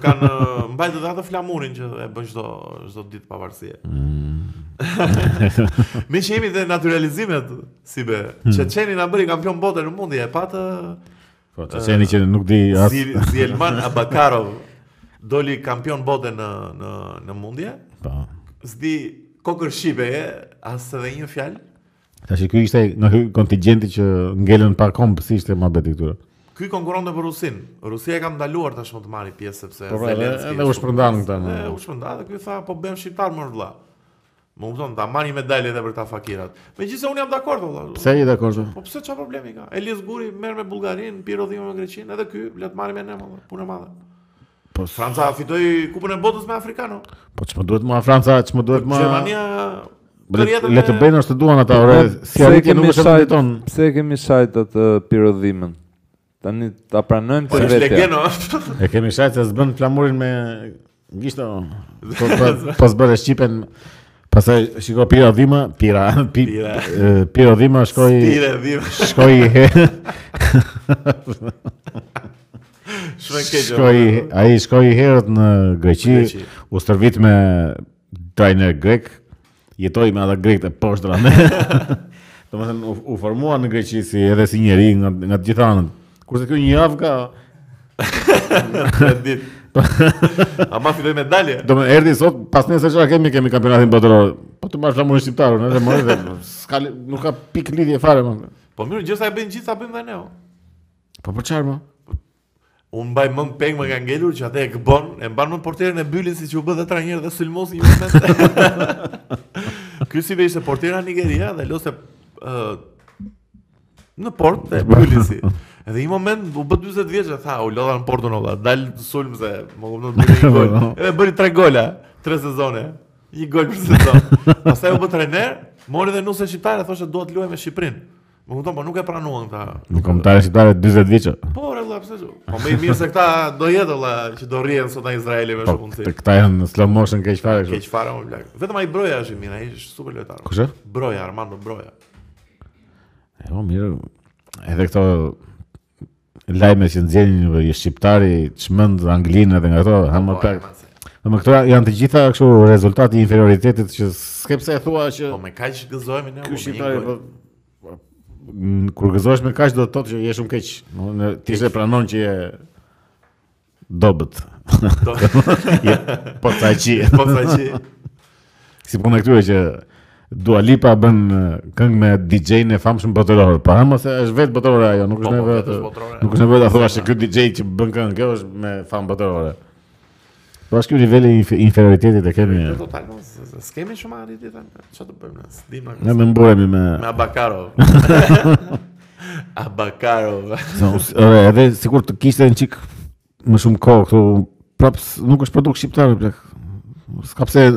kanë mbajtur atë flamurin që e bën çdo çdo ditë pavarësie. Me që jemi dhe naturalizimet, si be, Çeçeni na bëri kampion bote në mundi, e patë Po, të qeni Po, që nuk di as Zil- Zilman Abakarov. doli kampion bote në në në mundje, Po. s'di kokër shqipe e as edhe një fjalë. Tash ky ishte nga ky kontingjenti që ngelën pa komb si ishte mohabeti këtyre. Ky konkuronte për Rusin. Rusia e ka ndaluar tashmë të marrë pjesë sepse Po, pra, edhe- edhe u shpërndan këta, Dhe no. u shpërndan dhe ky tha po bëjmë shqiptar më vëlla. Më kupton, ta marrin medaljet edhe për ta fakirat. Megjithëse unë jam dakord vëlla. Pse je dakord? Po pse çfarë problemi ka? Elias Guri merr me Bullgarin, Piro dhimë me Greqinë, edhe ky le të marrim me ne valla. Punë e madhe. Po s- Franca fitoi Kupën e Botës me Afrikano. po ç'më duhet më Franca, ç'më duhet më Gjermania Le- rjetën Le të e- bëjnë është të duan ata, ore, si Pse e arritje kemi nuk është shajt- vërtet ton. Pse e kemi shajt atë pirodhimën? Tani ta pranojmë Po të është vetja. legeno. E kemi shajt se s'bën flamurin me gishto. Po po- po s'bën shqipen. Pastaj shiko Pira Dhima, Pira, pi, Pira. e, Pira Dhima shkoi Tire vim. shkoi Shumë e keq. shkoi ai shkoi herët në Greqi, Greqi. u stërvit me trajner grek, jetoi me ata grekët e poshtra. Domethënë u, u formua në Greqi si edhe si njeri nga nga të gjitha anët. Kurse ky një javë ka Rendit. Ama fitoi medalje. Do me erdi sot, pas nesër çfarë kemi kemi kampionatin botëror. Po të marrësh flamurin shqiptarun, edhe më edhe s'ka li- nuk ka pikë lidhje fare më. Po mirë, gjithsa e bëjnë gjithsa bëjmë dhe ne. o. Po për çfarë më? Unë mbaj mend peng më ka ngelur që atë e gëbon, e mban më portierin e bylit siç u bë dhe trajnerët dhe Sulmosi një moment. Ky si ishte portiera e Nigeria dhe loste ë në port dhe byli si. Edhe një moment u bë 40 vjeç e tha, u lodha në portën olla, dal Sulm se më kupton bëri një gol. Edhe bëri 3 gola, 3 sezone. Një gol për sezon. Pastaj u bë trajner, mori dhe nuse shqiptare, thoshte dua të luaj me Shqipërinë. Më kupton, po nuk e pranuan këta. Në kombëtare shqiptare 40 vjeçë. Po, re, vëlla, pse që? Po më i mirë se këta do jetë vëlla që do rrihen sot në Izraeli me Po shumë të punësi. këta janë në slow motion keq fare kështu. Keq fare më blaq. Vetëm ai Broja është i mirë, ai është super lojtar. Kush e? Broja, Armando Broja. E, Po mirë. Edhe këto lajme që nxjerrin i shqiptari çmend Anglinë edhe nga ato Po, hamë e, pak. ma se- Do me këto janë të gjitha kështu rezultati i inferioritetit që s'ke pse e thua që Po me kaq gëzohemi ne. po, Ky me një shqiptari gol. po n- kur gëzohesh me kaq do të thotë që je shumë keq. Do të ti s'e pranon që je dobët. Do je po sa qi. po sa që Si puna këtyre që Dua Lipa bën e, këngë me DJ-n e famshëm botëror. Pa mos e është vetë botërore ajo, nuk Po, është po, nevojë. vetë është të- botërore. Nuk është nevojë ta thuash se ky DJ që bën këngë, kjo është me fam botërore. Po është ky niveli i inf- inferioritetit e kemi. në Po, total mos se- s'kemi shumë arritje tani. Çfarë të bëjmë ne? S'dim na. Ne më mburemi me Me Abakarov. Abakarov. Se unë- Ore, edhe sikur të kishte një çik më shumë kohë këtu, prap s- nuk është produkt shqiptar plak. S'ka pse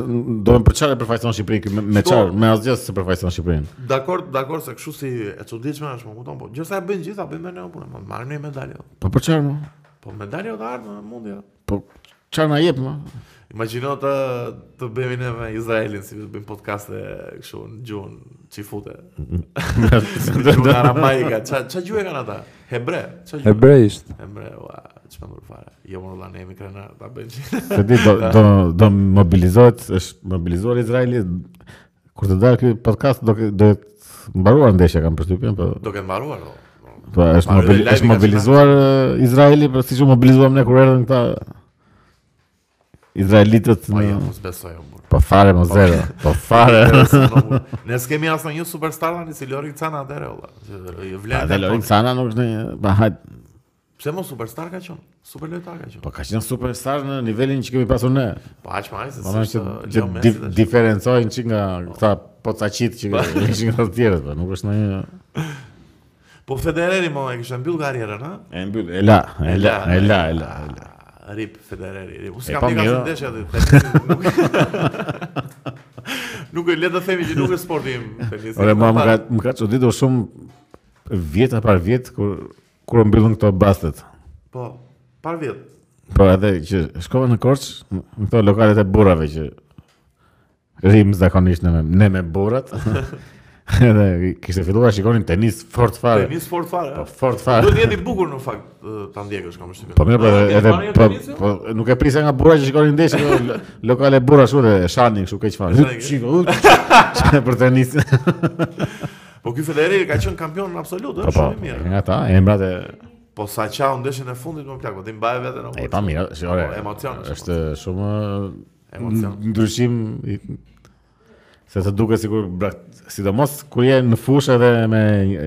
do të për çfarë e përfaqëson Shqipërinë ky me- me Shiko. çfarë, me asgjë se përfaqëson Shqipërinë. Dakor, dakor se kështu si e çuditshme është, më kupton, po gjithsa e bëjnë gjithsa, bëjmë ne punë, marrim një medalje. o. Po për çfarë më? Po medalje do të ardhmë në mundje. o. Po çfarë na jep më? Imagjino të të bëhemi ne me Izraelin, si të bëjmë podcaste kështu në gjuhën çifute. Në Gjuhën aramaika, ça ça gjuhë e kanë ata? Hebre, ça gjuhë? Hebrejisht. Hebre, ua, çfarë më fare. Jo më valla ne jemi krenar, ta bëjmë. Se di do do do mobilizohet, është mobilizuar Izraeli kur të dalë ky podcast do ke- do jetë mbaruar ndeshja kam përshtypjen, po Do ketë mbaruar. o. po është Mbaruar, live-i mobili- ka është qenë mobilizuar e, Izraeli, po siç u mobilizuam ne kur erdhën këta Izraelitët Po në- jo, mos besoj o burr. Po fare mo zero, po fare. Ne s'kemi asnjë superstar tani si Lorik Cana atëre valla. Që A dhe Lorin Vlen. po, Sana nuk është një... Pa hajt, Pse mos superstar ka qenë? Super lojtar ka qenë. po ka qenë superstar në nivelin që kemi pasur ne. Po aq më ai se Po në s'është që, që Leo Messi. di- tash. diferencojnë që nga këta pocaqit që ishin nga të tjerët, po nuk është ndonjë Po Federeri mo e kishte mbyll karrierën, ha? E mbyll, e la, e la, e la, e la. e la. Ah, Rip Federeri, rip. Unë E, s'kam pa pjeka mira. se ndeshja aty. tenisi Nuk Nuk e le të themi që nuk është sporti im tenisi. Ore, mua më ka më ka çuditur shumë vjet par vjet kur kur u mbyllën këto bastet. Po, par vjet. Po edhe që shkova në Korç, në këto lokalet e burrave që rrim zakonisht ne me, ne me burrat. edhe kishte filluar shikonin tenis fort fare. Tenis sport fare. Po ha? fort Duhet fare. të jetë i bukur në fakt ë, ta ndjekësh kam përshtypjen. Ah, Po mirë, po A, edhe Gjermania po, tenisi? po nuk e prisa nga burra që shikonin ndeshje, jo, lo- lokale burra ashtu dhe shani kështu keq fare. Shani, Shiko, për tenis. Po ky Federeri ka qenë kampion absolut, Po është po. shumë i mirë. Nga ta, emrat e Po sa qau ndeshjen e fundit më plak, po ti mbaje veten apo. E pa mirë, si ore. Po, emocion është, Është shumë Emocion. n- ndryshim i se të duket sikur brak- sidomos kur je në fushë edhe me një-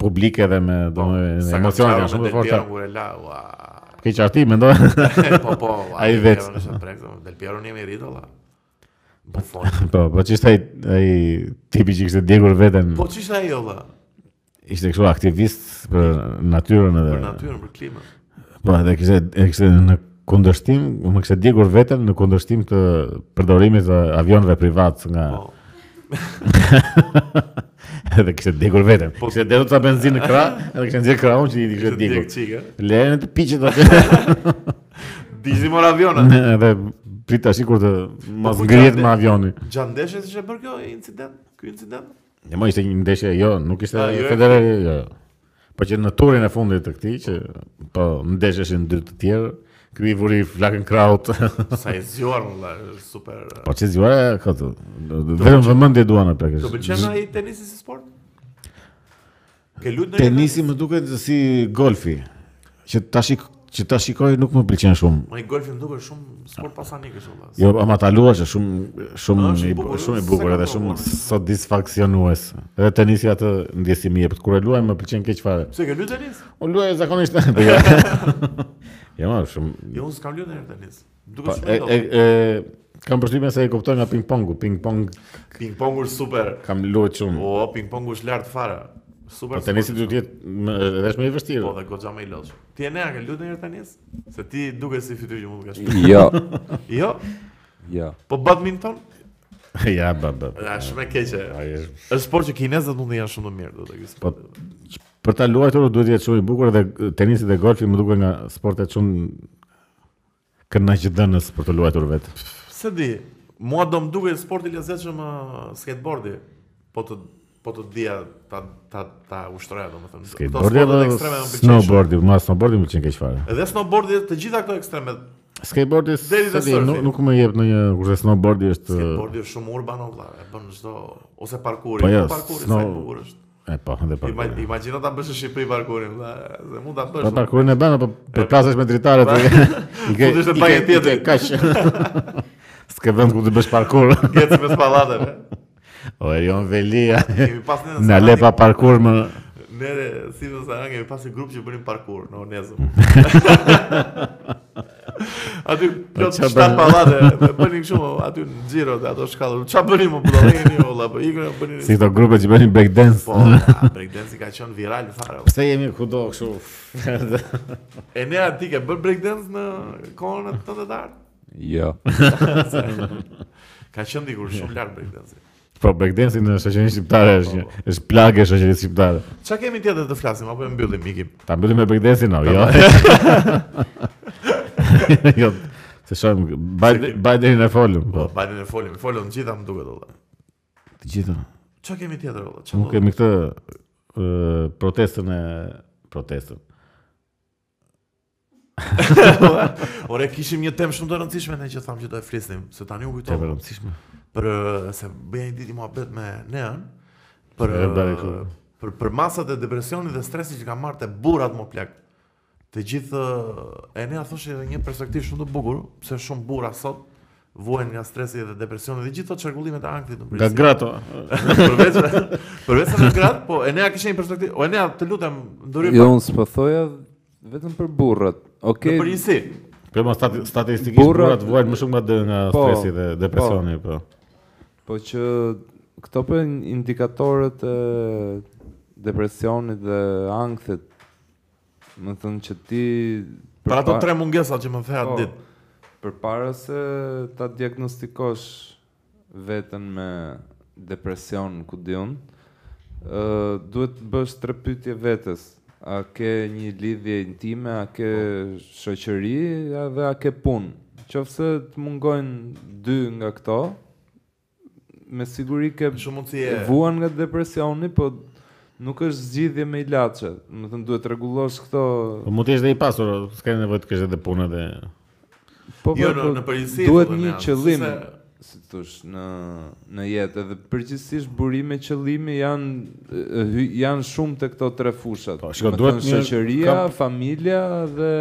publik edhe me domethënë Sa Po, ka emocionet qau janë me shumë të Del forta. Piero kur e la, ua. Ke qartë mendoj. Po po, ua, Ai Del vet. Piero nëse prek, do- Del Piero një mirë do la. Buffon. Po, po ç'ishte ai ai tipi që kishte djegur veten. Po ç'ishte ajo valla? Ishte kështu aktivist për natyrën edhe Për natyrën, për klimën. Po, edhe kishte e kishte në kundërshtim, më kishte djegur veten në kundërshtim të përdorimit të avionëve privat nga Po. edhe kishte djegur veten. Po. Kishte dhënë ca benzinë në krah, edhe kishte nxjerr krahun që i kishte Ishte djegur. djeg çika. Lejën të piqet atë. Dizim mor avionat. edhe prit tash kur të mos Po, ku ngrihet qatë? me avioni. Gjatë ndeshjes ishte bërë kjo incident, ky incident. Ne më ishte një ndeshje, jo, nuk ishte A, jo e- Federer, jo. Po që në turin e fundit të këtij që po ndesheshin dy të tjerë, ky i vuri flakën kraut. Sa e zgjuar valla, super. po që zgjuara këtu. Vetëm vëmendje duan atë Do plakësh. pëlqen ai tenisi si sport? Ke luajtur Tenisi më duket si golfi, që ta shik që ta shikoj nuk më pëlqen shumë. Më i golfi më duket shumë sport pasanik është valla. Jo, ama ta luash është shumë shumë Është i i bukur, shumë i s'e bukur kam edhe shumë provuar. satisfaksionues. Edhe tenisi atë ndjesimi jep. Kur e luaj më pëlqen keq fare. Pse ke luajtur tenis? Unë luaj zakonisht. Po, jo. Jo, ma, shumë Jo, unë s'kam luajtur ndonjëherë tenis. Më Po, Duket e, shumë e, e e, kam përshtypjen se e kuptoj nga ping-pongu. Ping-pong ping-pongu është super. kam luajt shumë. O, ping-pongu është lart fare. Super. Po sport. tenisi duhet të jetë jo. më- edhe është më i vështirë. Po dhe goxha më i lodh. Ti e nea ke luajtur ndonjëherë tenis? Se ti duket si fytyrë që mund të ka shpëtuar. Jo, Jo. jo. Po badminton? ja, ba, ba. Ja, shumë e keqe. Ai është Është sport që kinezët mund të janë shumë të mirë, do të thotë. Po, për ta luajtur duhet të jetë shumë i bukur dhe tenisi dhe golfi më duken nga sportet shumë kënaqëdhënës për të luajtur vetë. Se di, mua do më duke sporti lezetshëm ë, skateboardi, po të po të dija ta ta ta ushtroja domethënë. Këto Skateboardi sportet ekstreme apo më pëlqejnë shumë. snowboardi, ma snowboardi më pëlqen keq fare. Edhe snowboardi, të gjitha këto ekstreme. Skateboardi Deri te se di, nuk, surfi. nuk më jep ndonjë kurse snowboardi është Skateboardi është shumë urban o vëlla, e bën çdo ose parkuri, Po po jo, parkuri snow- sa i bukur është. e po, edhe po. Ima- Imagjino ta bësh në Shqipëri parkurin, vëlla, se mund ta bësh. Po vëlla. parkurin e bën apo përplasesh me dritare ti. I ke Futesh në i baje ke i ke tjetër. kaq. S'ke vend ku të bësh parkur. Gjeci me spallateve. O Erion Velia. Kemi pas në Na le pa parkur më Ne si do sa kemi pas një grup që bënin parkur në Onezëm. aty plot çfarë shtat bënin? pallate, e bënin kështu aty në xhiro dhe ato shkallë. Ç'a bënin më budallëni valla, po ikën bënin. si këto grupe që bënin breakdance. Po, a, breakdance ka qenë viral fare. valla. Pse jemi kudo kështu? E ne aty ke bër breakdance në kohën e të të art. Jo. Ka qenë dikur shumë lart breakdance. Po breakdance në shoqërinë shqiptare është një është plagë e shoqërisë shqiptare. Ç'a kemi tjetër të flasim apo e mbyllim mikim? Ta mbyllim me breakdance no, jo. jo. Se shohim baj- baj deri në folëm. Po, Po, bajnë e folim, folëm të gjitha më duket valla. të gjitha. Ç'a kemi tjetër valla? Ç'a Nuk do- kemi këtë ë, protestën e protestën. Ore kishim një temë shumë të rëndësishme ne që thamë që do e flisnim, se tani u Të kujtova. rëndësishme. për eh, se bëja një ditë muhabet me Nean për E, bëri eh, kështu. për për masat e depresionit dhe stresit që ka marrë te burrat më plak. Të gjithë eh, e Nea thoshte edhe një perspektivë shumë të bukur, pse shumë burra sot vuajnë nga stresi dhe depresioni dhe gjithë ato çarkullimet e ankthit në Nga Prishtinë. grato. përveç përveç se në grad, po Enea kishte një perspektivë. O Enea, të lutem, ndërhyj Jo, unë s'po thoja vetëm për burrat. në Okej. përgjithësi. Për më stati, statistikisht Burrat- burrat vuajnë më shumë nga dë- nga Po, stresi dhe depresioni, po. Po që këto për indikatorët e depresionit dhe ankthit, më thënë që ti Për ato përpa- tre mungesa që më the atë po, ditë. Përpara se ta diagnostikosh veten me depresion ku diun, ë duhet të bësh tre pyetje vetes. A ke një lidhje intime, a ke shoqëri, a dhe a ke punë? Qofse të mungojnë dy nga këto, me siguri ke Shumë mundsi e vuan nga depresioni, po nuk është zgjidhje me ilaçe. Do të thënë duhet të rregullosh këto. Po mund të jesh dhe i pasur, s'ka nevojë të kesh edhe punë dhe Po, Jo, po, në, po, në përgjithësi. po duhet thonë një Nea, qëllim. se- si të thosh në në jetë edhe përgjithsisht burime qëllimi janë e, hy- janë shumë te këto tre fushat. Po, shiko, Me duhet thënë një- shoqëria, kap- familja dhe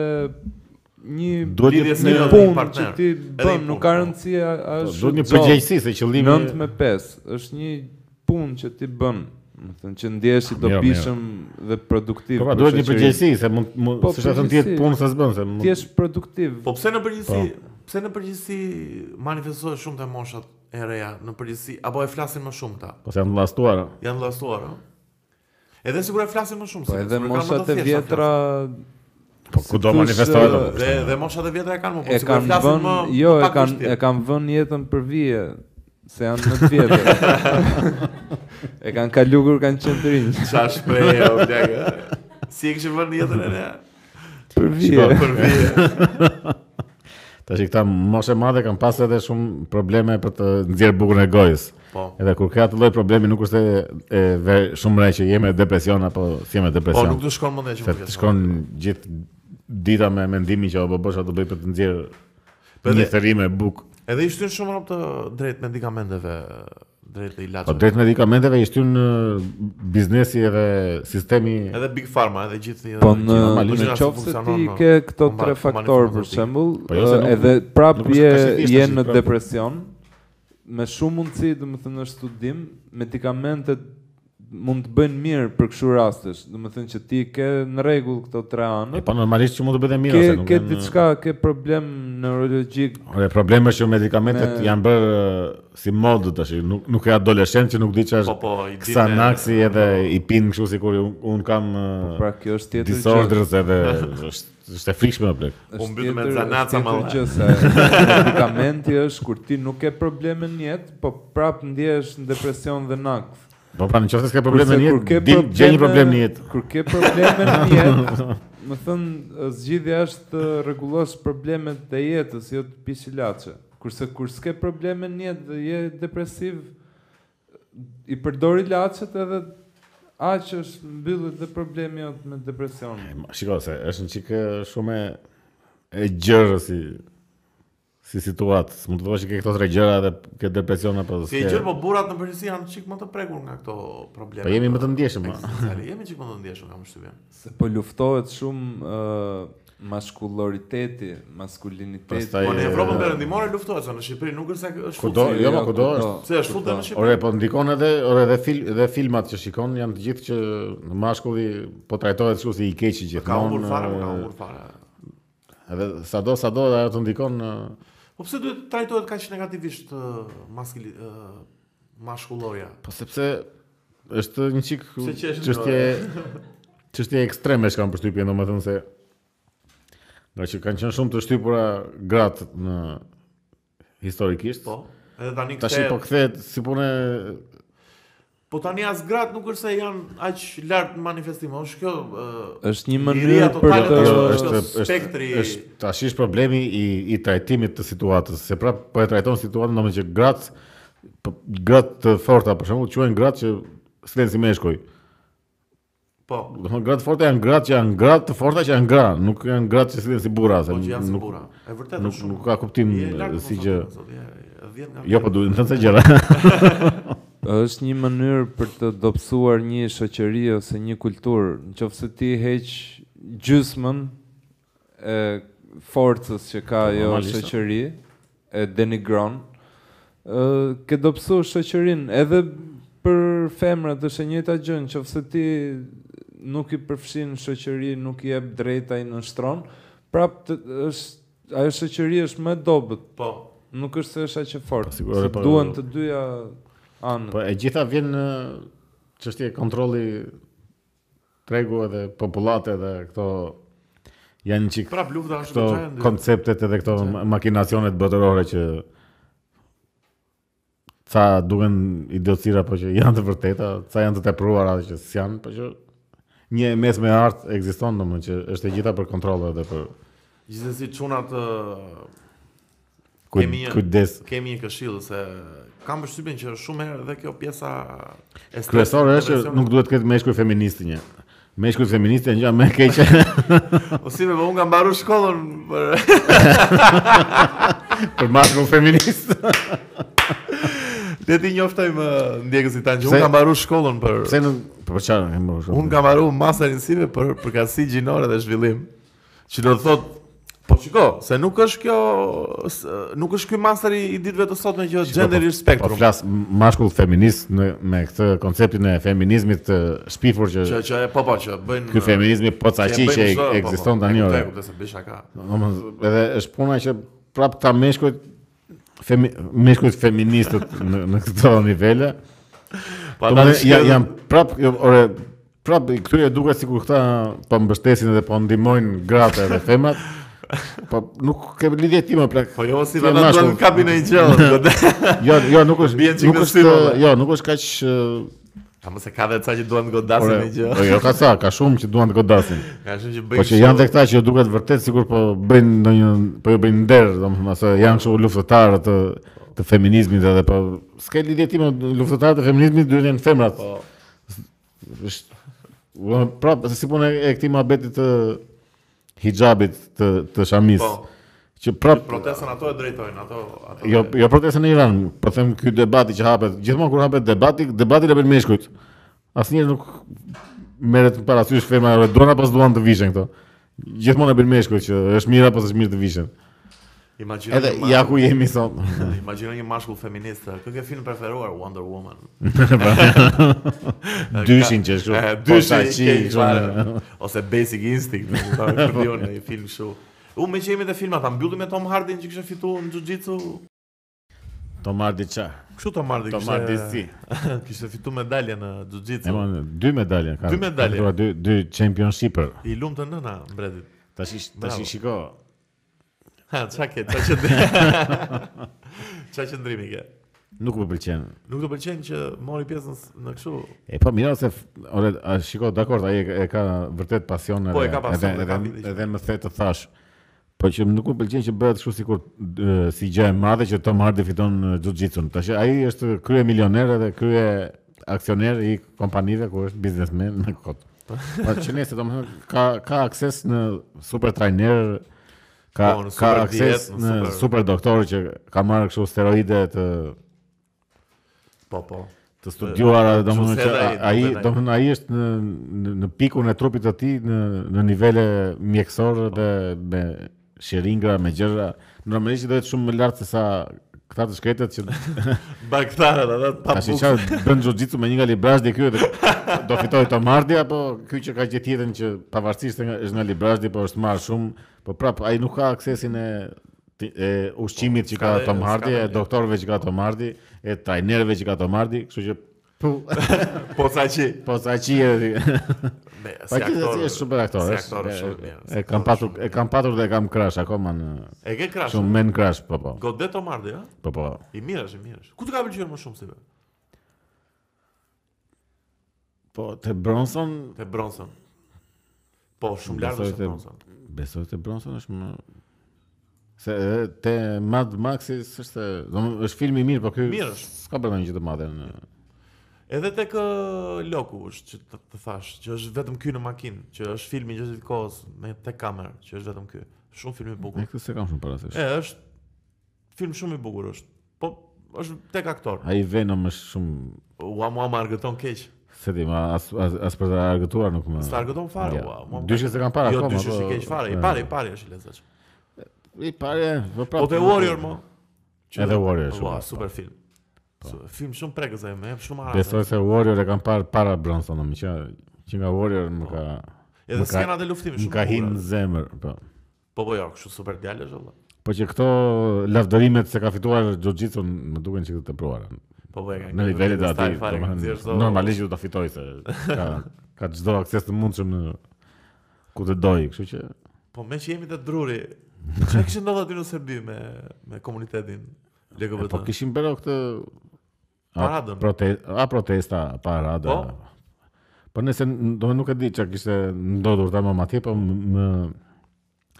një Duhet Lidhje një, se- një, serioze, një një punë që partner. ti Edhe bën, një nuk punë, ka po. rëndësi a- a është duhet një zot, përgjegjësi se qëllimi 9 me 5 është një punë që ti bën, më thënë që ndjehesh i Ah, Mirë, dobishëm dhe produktiv. Po pra, për duhet një shoqërinë. përgjegjësi se mund mund Po, s'është thënë ti jetë përgjegjësi. punë se s'bën se Ti mund. je produktiv. Po pse në përgjithësi, pse në përgjithësi manifestohet shumë te moshat e reja në përgjithësi apo e flasin më shumë ta? Po se janë vllastuara. Janë vllastuar, ëh. Edhe sigurisht flasin më shumë. Po se- edhe sigurisht kanë më të moshat e thjeshta vjetra Po kudo thosh, manifestohet. po. e, apo? Dhe dhe moshat e vjetra e kanë më po e sikur kanë flasin vënë, më jo, më e pak kanë vështirë. e kanë vënë jetën për vije, se janë më të vjetër. e kanë kalugur, kanë qenë të rinj. Qa shpreja, o blek, e? Si e kështë vënë jetën e ne? Për Po. vije. Për vje. Tash i këta moshe madhe kanë pasur edhe shumë probleme për të nxjerr bukën e gojës. Po. Edhe kur ka atë lloj problemi nuk është e, e ve, shumë re që jemi me depresion apo si jemi me Po depresion. nuk të shkon mendja që se më të vjen. shkon gjithë dita me mendimin që o bë bësha të bëj për të nxjerr Edhe- një thëri me bukë. Edhe i shtyn shumë rrobat të drejt medikamenteve, drejt të Po ilaçeve. drejt medikamenteve i shtyn ë, biznesi edhe sistemi Edhe Big Pharma, edhe gjithë Po gjithë në normalisht në nga si qoftë se funksionon, ti no, ke këto kombat- tre kombat faktorë për informatik. shembull, Po jo se nuk- edhe prap nuk është je kashifisht, je është në prap- depresion me shumë mundësi, domethënë në studim, medikamentet mund të bëjnë mirë për kështu rastesh, domethënë që ti ke në rregull këto tre E anë. pa normalisht që mund të bëhet e mira Ke se nuk ke janë- diçka, ke problem neurologjik, Ore problemi është që medikamentet Me- janë bërë ë, si modë tash, nuk nuk e adoleshent që nuk di ç'është. Po, po, i di Sa me- naksi edhe i pin kështu sikur un, un kam ë, pra kjo është tjetër gjë. disorders edhe është është e frikshme apo plek. U Është mbyt me tjetër- zanaca është tjetër malla. gjë se medikamenti është kur ti nuk ke probleme në jetë, po prap ndjehesh në depresion dhe nakt. Po pra nëse ke probleme Kurse në kur ke jetë, di probleme- gjej një problem në jetë. Kur ke probleme në jetë, më thënë, zgjidhja është të rregullosh problemet e jetës, jo të pish ilaçe. Kurse kur s'ke probleme në jetë dhe je depresiv, i përdor ilaçet edhe aq është mbyllet dhe problemi jot me depresion. Shiko se është një çikë shumë e- e gjërë si si situatë. Mund të thuash që ke këto tre gjëra dhe ke depresion apo Si e gjë, po burrat në përgjithësi janë çik më të prekur nga këto probleme. Po jemi më të ndjeshëm. a. Ekzistenciale, jemi çik më të ndjeshëm kam shtypjen. Se po luftohet shumë uh, maskulloriteti, maskuliniteti. Pastaj- Po në E- Evropën perëndimore luftohet, sa në Shqipëri nuk është se është Kudo, futsi. jo, ma kudo është. Pse është futë në Shqipëri? Ore, po ndikon edhe, ore, dhe, fil, dhe filmat që shikon janë të gjithë që në mashkulli po trajtohet kështu si i keqi gjithmonë. Ka humbur fare, po e, ka humbur fare. Edhe sado sado ajo të ndikon uh, e, Po pse duhet trajtohet kaq negativisht ë, maskili ë, mashkulloria? po sepse është një çik Pse qesh në çështje çështje ekstreme që kanë përshtypjen domethënë se nga që kanë qenë shumë të shtypura gratë në historikisht. Po. Edhe tani Tash po kthehet. kthehet si punë Po tani as gratë nuk është se janë aq lart në manifestim. po Është kjo ë, është një liria mënyrë për totale të të- jo, është është është spektri- është tash është problemi i i trajtimit të situatës. Se prap po e trajton situatën domethënë që gratë po- gratë të forta për shembull quhen gratë që s'len si meshkuj. po. Do të thonë gratë të forta janë gratë që janë gratë të forta që janë gra, nuk janë gratë që s'len si burra, se Po që janë si nuk burra. E vërtetë nuk, është shumë. nuk ka kuptim Je lart, si mos gjë. e thoni, zot, je- je 10 nga Jo, po duhet të thënë se gjëra. është një mënyrë për të dobësuar një shoqëri ose një kulturë. Nëse ti heq gjysmën e forcës që ka Po, ajo normalisht. shoqëri, e denigron, ë ke dobësu shoqërinë edhe për femrat është e njëjta gjë, nëse ti nuk i përfshin shoqëri, nuk i jep drejta i nënshtron, prap të, është ajo shoqëri është më e dobët. Po. Nuk është se është aq e fortë. Po, sigurisht, se po- duhen të dyja anët. Po e gjitha vjen në çështje kontrolli tregu edhe popullate edhe këto janë çik Prap lufta është këto goxha e ndyrë. konceptet edhe këto ma- makinacionet botërore që ca duken idiotësira, po që janë të vërteta, ca janë të tepruara që s'janë, po që një mes me art ekziston domthonjë që është e gjitha për kontroll edhe për Gjithsesi çunat ë, kuj, Kemi një- kujdes. kemi një këshill se kam përshtypjen që shumë herë edhe kjo pjesa e stressit Kryesore është që depresionit- nuk duhet të ketë meshkuj feminist një. Meshkuj feminist janë gjë më e keqe. O si me, po unë kam mbaru shkollën për Për mashkull feminist. Le ti njoftoj më ndjekësit tanë që Pse- unë kam mbaruar shkollën për Pse nuk po çfarë e mbaruar? unë kam mbaruar masterin cive për përkatësi gjinore dhe zhvillim. Që do të thotë Po shiko, se nuk është kjo s- nuk është ky master i i ditëve të sotme që është gender Po spectrum. flas mashkull feminist në, me këtë konceptin e feminizmit të shpifur që Që që po po që bëjnë ky feminizmi pocaqi që bëjnë çdo, po, po, ekziston e tani kuptoj, ore. Po, e kuptoj se bëj shaka. Domethënë edhe është puna që prap ta meshkujt femi, meshkujt feministët në, në këto nivele. Po ata Domethënë ja, shkëllën- janë prap jo, ore prap i këtyre duket sikur këta po mbështesin dhe po ndihmojnë gratë edhe femrat. Po nuk ke lidhje ti më plak. Po jo si Ti je vata duan mashkull. kapin e gjallë. Jo, jo, nuk është Bien çik nuk në është styl, valla. jo, nuk është kaq ë, A mos e ka dhe ca që duan të godasin e gjë. po jo ka sa, ka shumë që duan të godasin. Ka shumë që bëjnë. Po që janë dhe këta që duket vërtet sikur po bëjnë ndonjë po jo bëjnë nder, domethënë asoj janë kështu luftëtarë të të feminizmit edhe po s'ka lidhje ti me luftëtarët e feminizmit duhet janë femrat. Po. Është ua, prapë se si punë e këtij muhabetit të hijabit të të shamis. Po. Që prap Protestën ato e drejtojnë, ato ato. Jo, jo protesta në Iran, po them ky debati që hapet, gjithmonë kur hapet debati, debati le për meshkujt. Asnjëherë nuk merret parasysh femra, ore, duan apo s'duan të vishen këto. Gjithmonë e bën meshkujt që është mirë apo s'është mirë të vishen. Imagjino. Edhe një ma- ja ku jemi sot. Imagjino një mashkull feminist. Kë ke film preferuar Wonder Woman? Dyshin që po, është kështu, E, Dyshin posaçi, që i kështu, fare. Ose Basic Instinct, më kupton, kur në një film kështu. Unë me që jemi te filmat, a mbyllim me Tom Hardin që kishte fituar në jiu-jitsu? Tomar diça. Kështu Tom Hardy Tomar diçi. Kishte fituar medalje në E jiu-jitsu. mon, dy medalje kanë. Dy medalje. Ka fituar Dy dy championshiper. I lumtë nëna mbretit. Tash Bravo. tash shiko. Ha, çka ke? Çka qëndrim? Çka qëndrimi ke? Nuk më pëlqen. Nuk të pëlqen që mori pjesën s- në kështu E po mira se f- ore a shiko dakord ai e, e ka vërtet pasion Po, e ka pasion, edhe e ka edhe, vite që- edhe më the të thash. Po që nuk më pëlqen që bëhet kështu sikur e, si gjë e madhe që Tom Hardy fiton e, jiu-jitsun. Tash ai është krye milioner edhe krye aksioner i kompanive ku është biznesmen në kot. Po që nëse domethënë ka ka akses në super trajner ka Po, në ka super akses dietë, në në super- super doktor që ka marrë kështu steroide të Po, po. të studiuara, domethënë se që edhe ai, ai duket ai. domethënë ai është në në- në pikun e trupit të tij në në nivele mjekësore dhe me sheringra, me gjëra. Normalisht do të jetë shumë më lart se sa këta të shkretët që Baktarët ata të pa tash i bukë. çfarë bën jiu-jitsu me një nga librazhdi ky dhe do fitoj Tom Hardy apo ky që ka gjetë jetën që pavarësisht se nga është nga librazhdi po është marrë shumë, po prap ai nuk ka aksesin e ti- e ushqimit që ka Po, s'ka dhe- Tom s'ka Hardy, dhe- e doktorëve që ka Tom Hardy, e trajnerëve që ka Tom Hardy, kështu që Po sa që. po sa qie ti. Me, Pa si që aktor. është super aktor. Si është- aktor është e- shumë mirë. E kam patur e kam patur dhe e kam crash akoma në E ke krash. shumë men crash po po. Godet Tom Hardy, ha? Po po. I mirë është, i mirë është. Ku të ka pëlqyer më shumë si ve? Po te Bronson Te Bronson. Po, shumë lart Besoj është te se- Bronson. besoj te Bronson është më se e, te Mad Maxi është domethënë është film i mirë, po ky Mirë është. s'ka bërë ndonjë gjë të madhe në Edhe tek ë, Loku është që të, të thash, që është vetëm ky në makinë, që është filmi i gjithë kohës me tek kamerë, që është vetëm ky. Shumë film i E bukur. këtë se kam shumë parasysh. E, është film shumë i bukur është. Po, është tek aktor. Ai Venom është shumë Ua mua më argëton keq. se di, ma as as, as për të argëtuar nuk më. S'ta argëton fare, Ja. ua. mua më- Dyshë se kam para Jo, akoma. dyshë është i po- keq fare. I e, pari, i pari është i lezetshëm. I pare, po prapë. Po te Warrior mo. Edhe Warrior është Ua, super, super film. Su- Film shumë prekës ai, më jep shumë harë. Besoj se Warrior e kam parë para Bronson, më që që nga Warrior më ka Edhe më ka- skenat e luftimit më shumë. ka bukura. hinë në zemër, po. Po po jo, kështu super djalë është valla. Po që këto lavdërimet se ka fituar jiu-jitsu më duken që të pruara. Po po e kanë. Në nivelet e atij, domethënë, normalisht normalisht. do ta fitoj se ka ka çdo akses të mundshëm në ku të doj, kështu që Po me që jemi te Druri. Çka kishte ndodhur aty në Serbi me me komunitetin e, po pra- LGBT? kishin bërë këtë a, Paradën. prote- a protesta, a parada. Po. Po nëse n- do nuk e di çka kishte ndodhur tamam atje, po më, më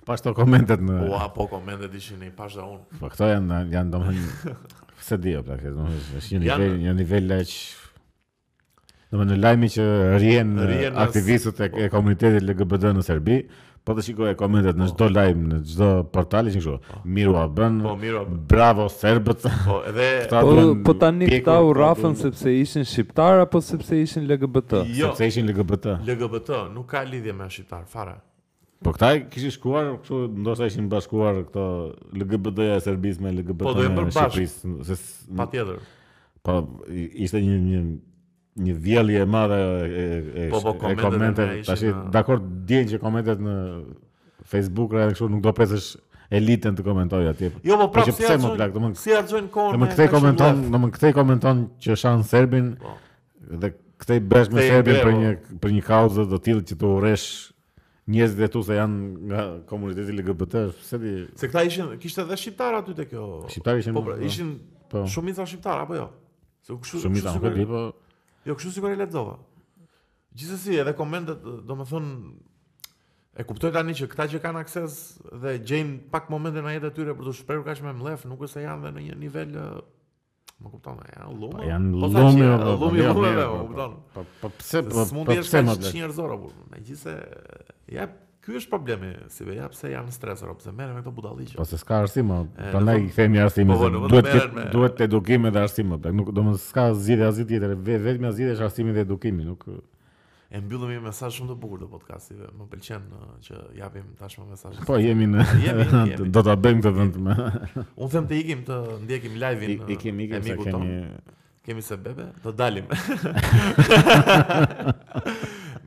pas të komentet në Ua, po komentet ishin i pashë unë. Po këto janë janë domethënë se di apo këtë domethënë është një Janë- nivel një nivel aq domethënë në lajmi që rrihen Rrihen aktivistët e, e komunitetit LGBT në Serbi, Po të shikoj komentet në çdo lajm, në çdo portal që kështu. Miru a bën. Po, miru a bën. Bravo serbët. Po, edhe Këta Po, duhen po tani pjekur, po, këta u këta rafën duhen- sepse ishin shqiptar apo sepse ishin LGBT? jo, po, sepse ishin LGBT. LGBT nuk ka lidhje me shqiptar fare. Po këta kishin shkuar, kështu ndoshta ishin bashkuar këto LGBT-ja e Serbisë me LGBT-ja Po, do e bërë e bashkë. Shqipërisë, se s- Patjetër. po i- ishte një një një vjellje e madhe e e Po, po, e komentet e ne ishin tash në- dakor djej që komentet në Facebook ra kështu nuk do presësh elitën të komentoj atje. Jo, po prapë që si pse më harxojnë- plak, domethënë Si harxojnë kohën. Në më me kthej kështu komenton, lef. në më kthej komenton që shan serbin Po. dhe kthej bësh me Kthej serbin bre, për po. një për një kauzë do tillë që të urresh njerëzit e tu se janë nga komuniteti LGBT, pse di Se këta ishin kishte edhe shqiptar aty te kjo. Shqiptar ishin- Po, pra, ishin Po. shumica shqiptar apo jo? Se kështu shumica kështu nuk e sigur- di, po Jo, kështu sikur e lexova. Gjithsesi, edhe komentet, do më thonë, e kuptoj tani që këta që kanë akses dhe gjejnë pak momente në jetën e tyre për të shprehur kaq me mlef, nuk është se janë dhe në një nivel ë, Më kupton, janë lumë. po janë po, tha që lumi, janë po, po, lumi, mirë, lumë, mirë, po, po, më kupton. Po po pse po Se mund po të jesh pse më kaq blek? njerëzor apo. Megjithëse ja ky është problemi, si be, ja pse janë stresor, pse merren me këto budalliqe. Po se s'ka arsim, po E, prandaj do- i themi arsimin. po, po, se do të Duhet merren ket- me- duhet edukim edhe arsim, po blek. Nuk domos s'ka zgjidhje asgjë tjetër, ve- vetëm zgjidhja është arsimi dhe edukimi, nuk E mbyllëm një mesazh shumë të bukur të podcastive. Më pëlqen ë, që japim tashmë mesazhe. po jemi në Jemi, jemi. do ta bëjmë këtë vend me Unë them të ikim të ndjekim live-in. i kemi e kemi mikut ton. kemi Kemi se bebe, do dalim.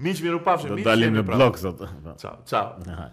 Miq miru pafshim, Do miq. dalim jemi pra. prapë. në blog sot. Po. Ciao, ciao.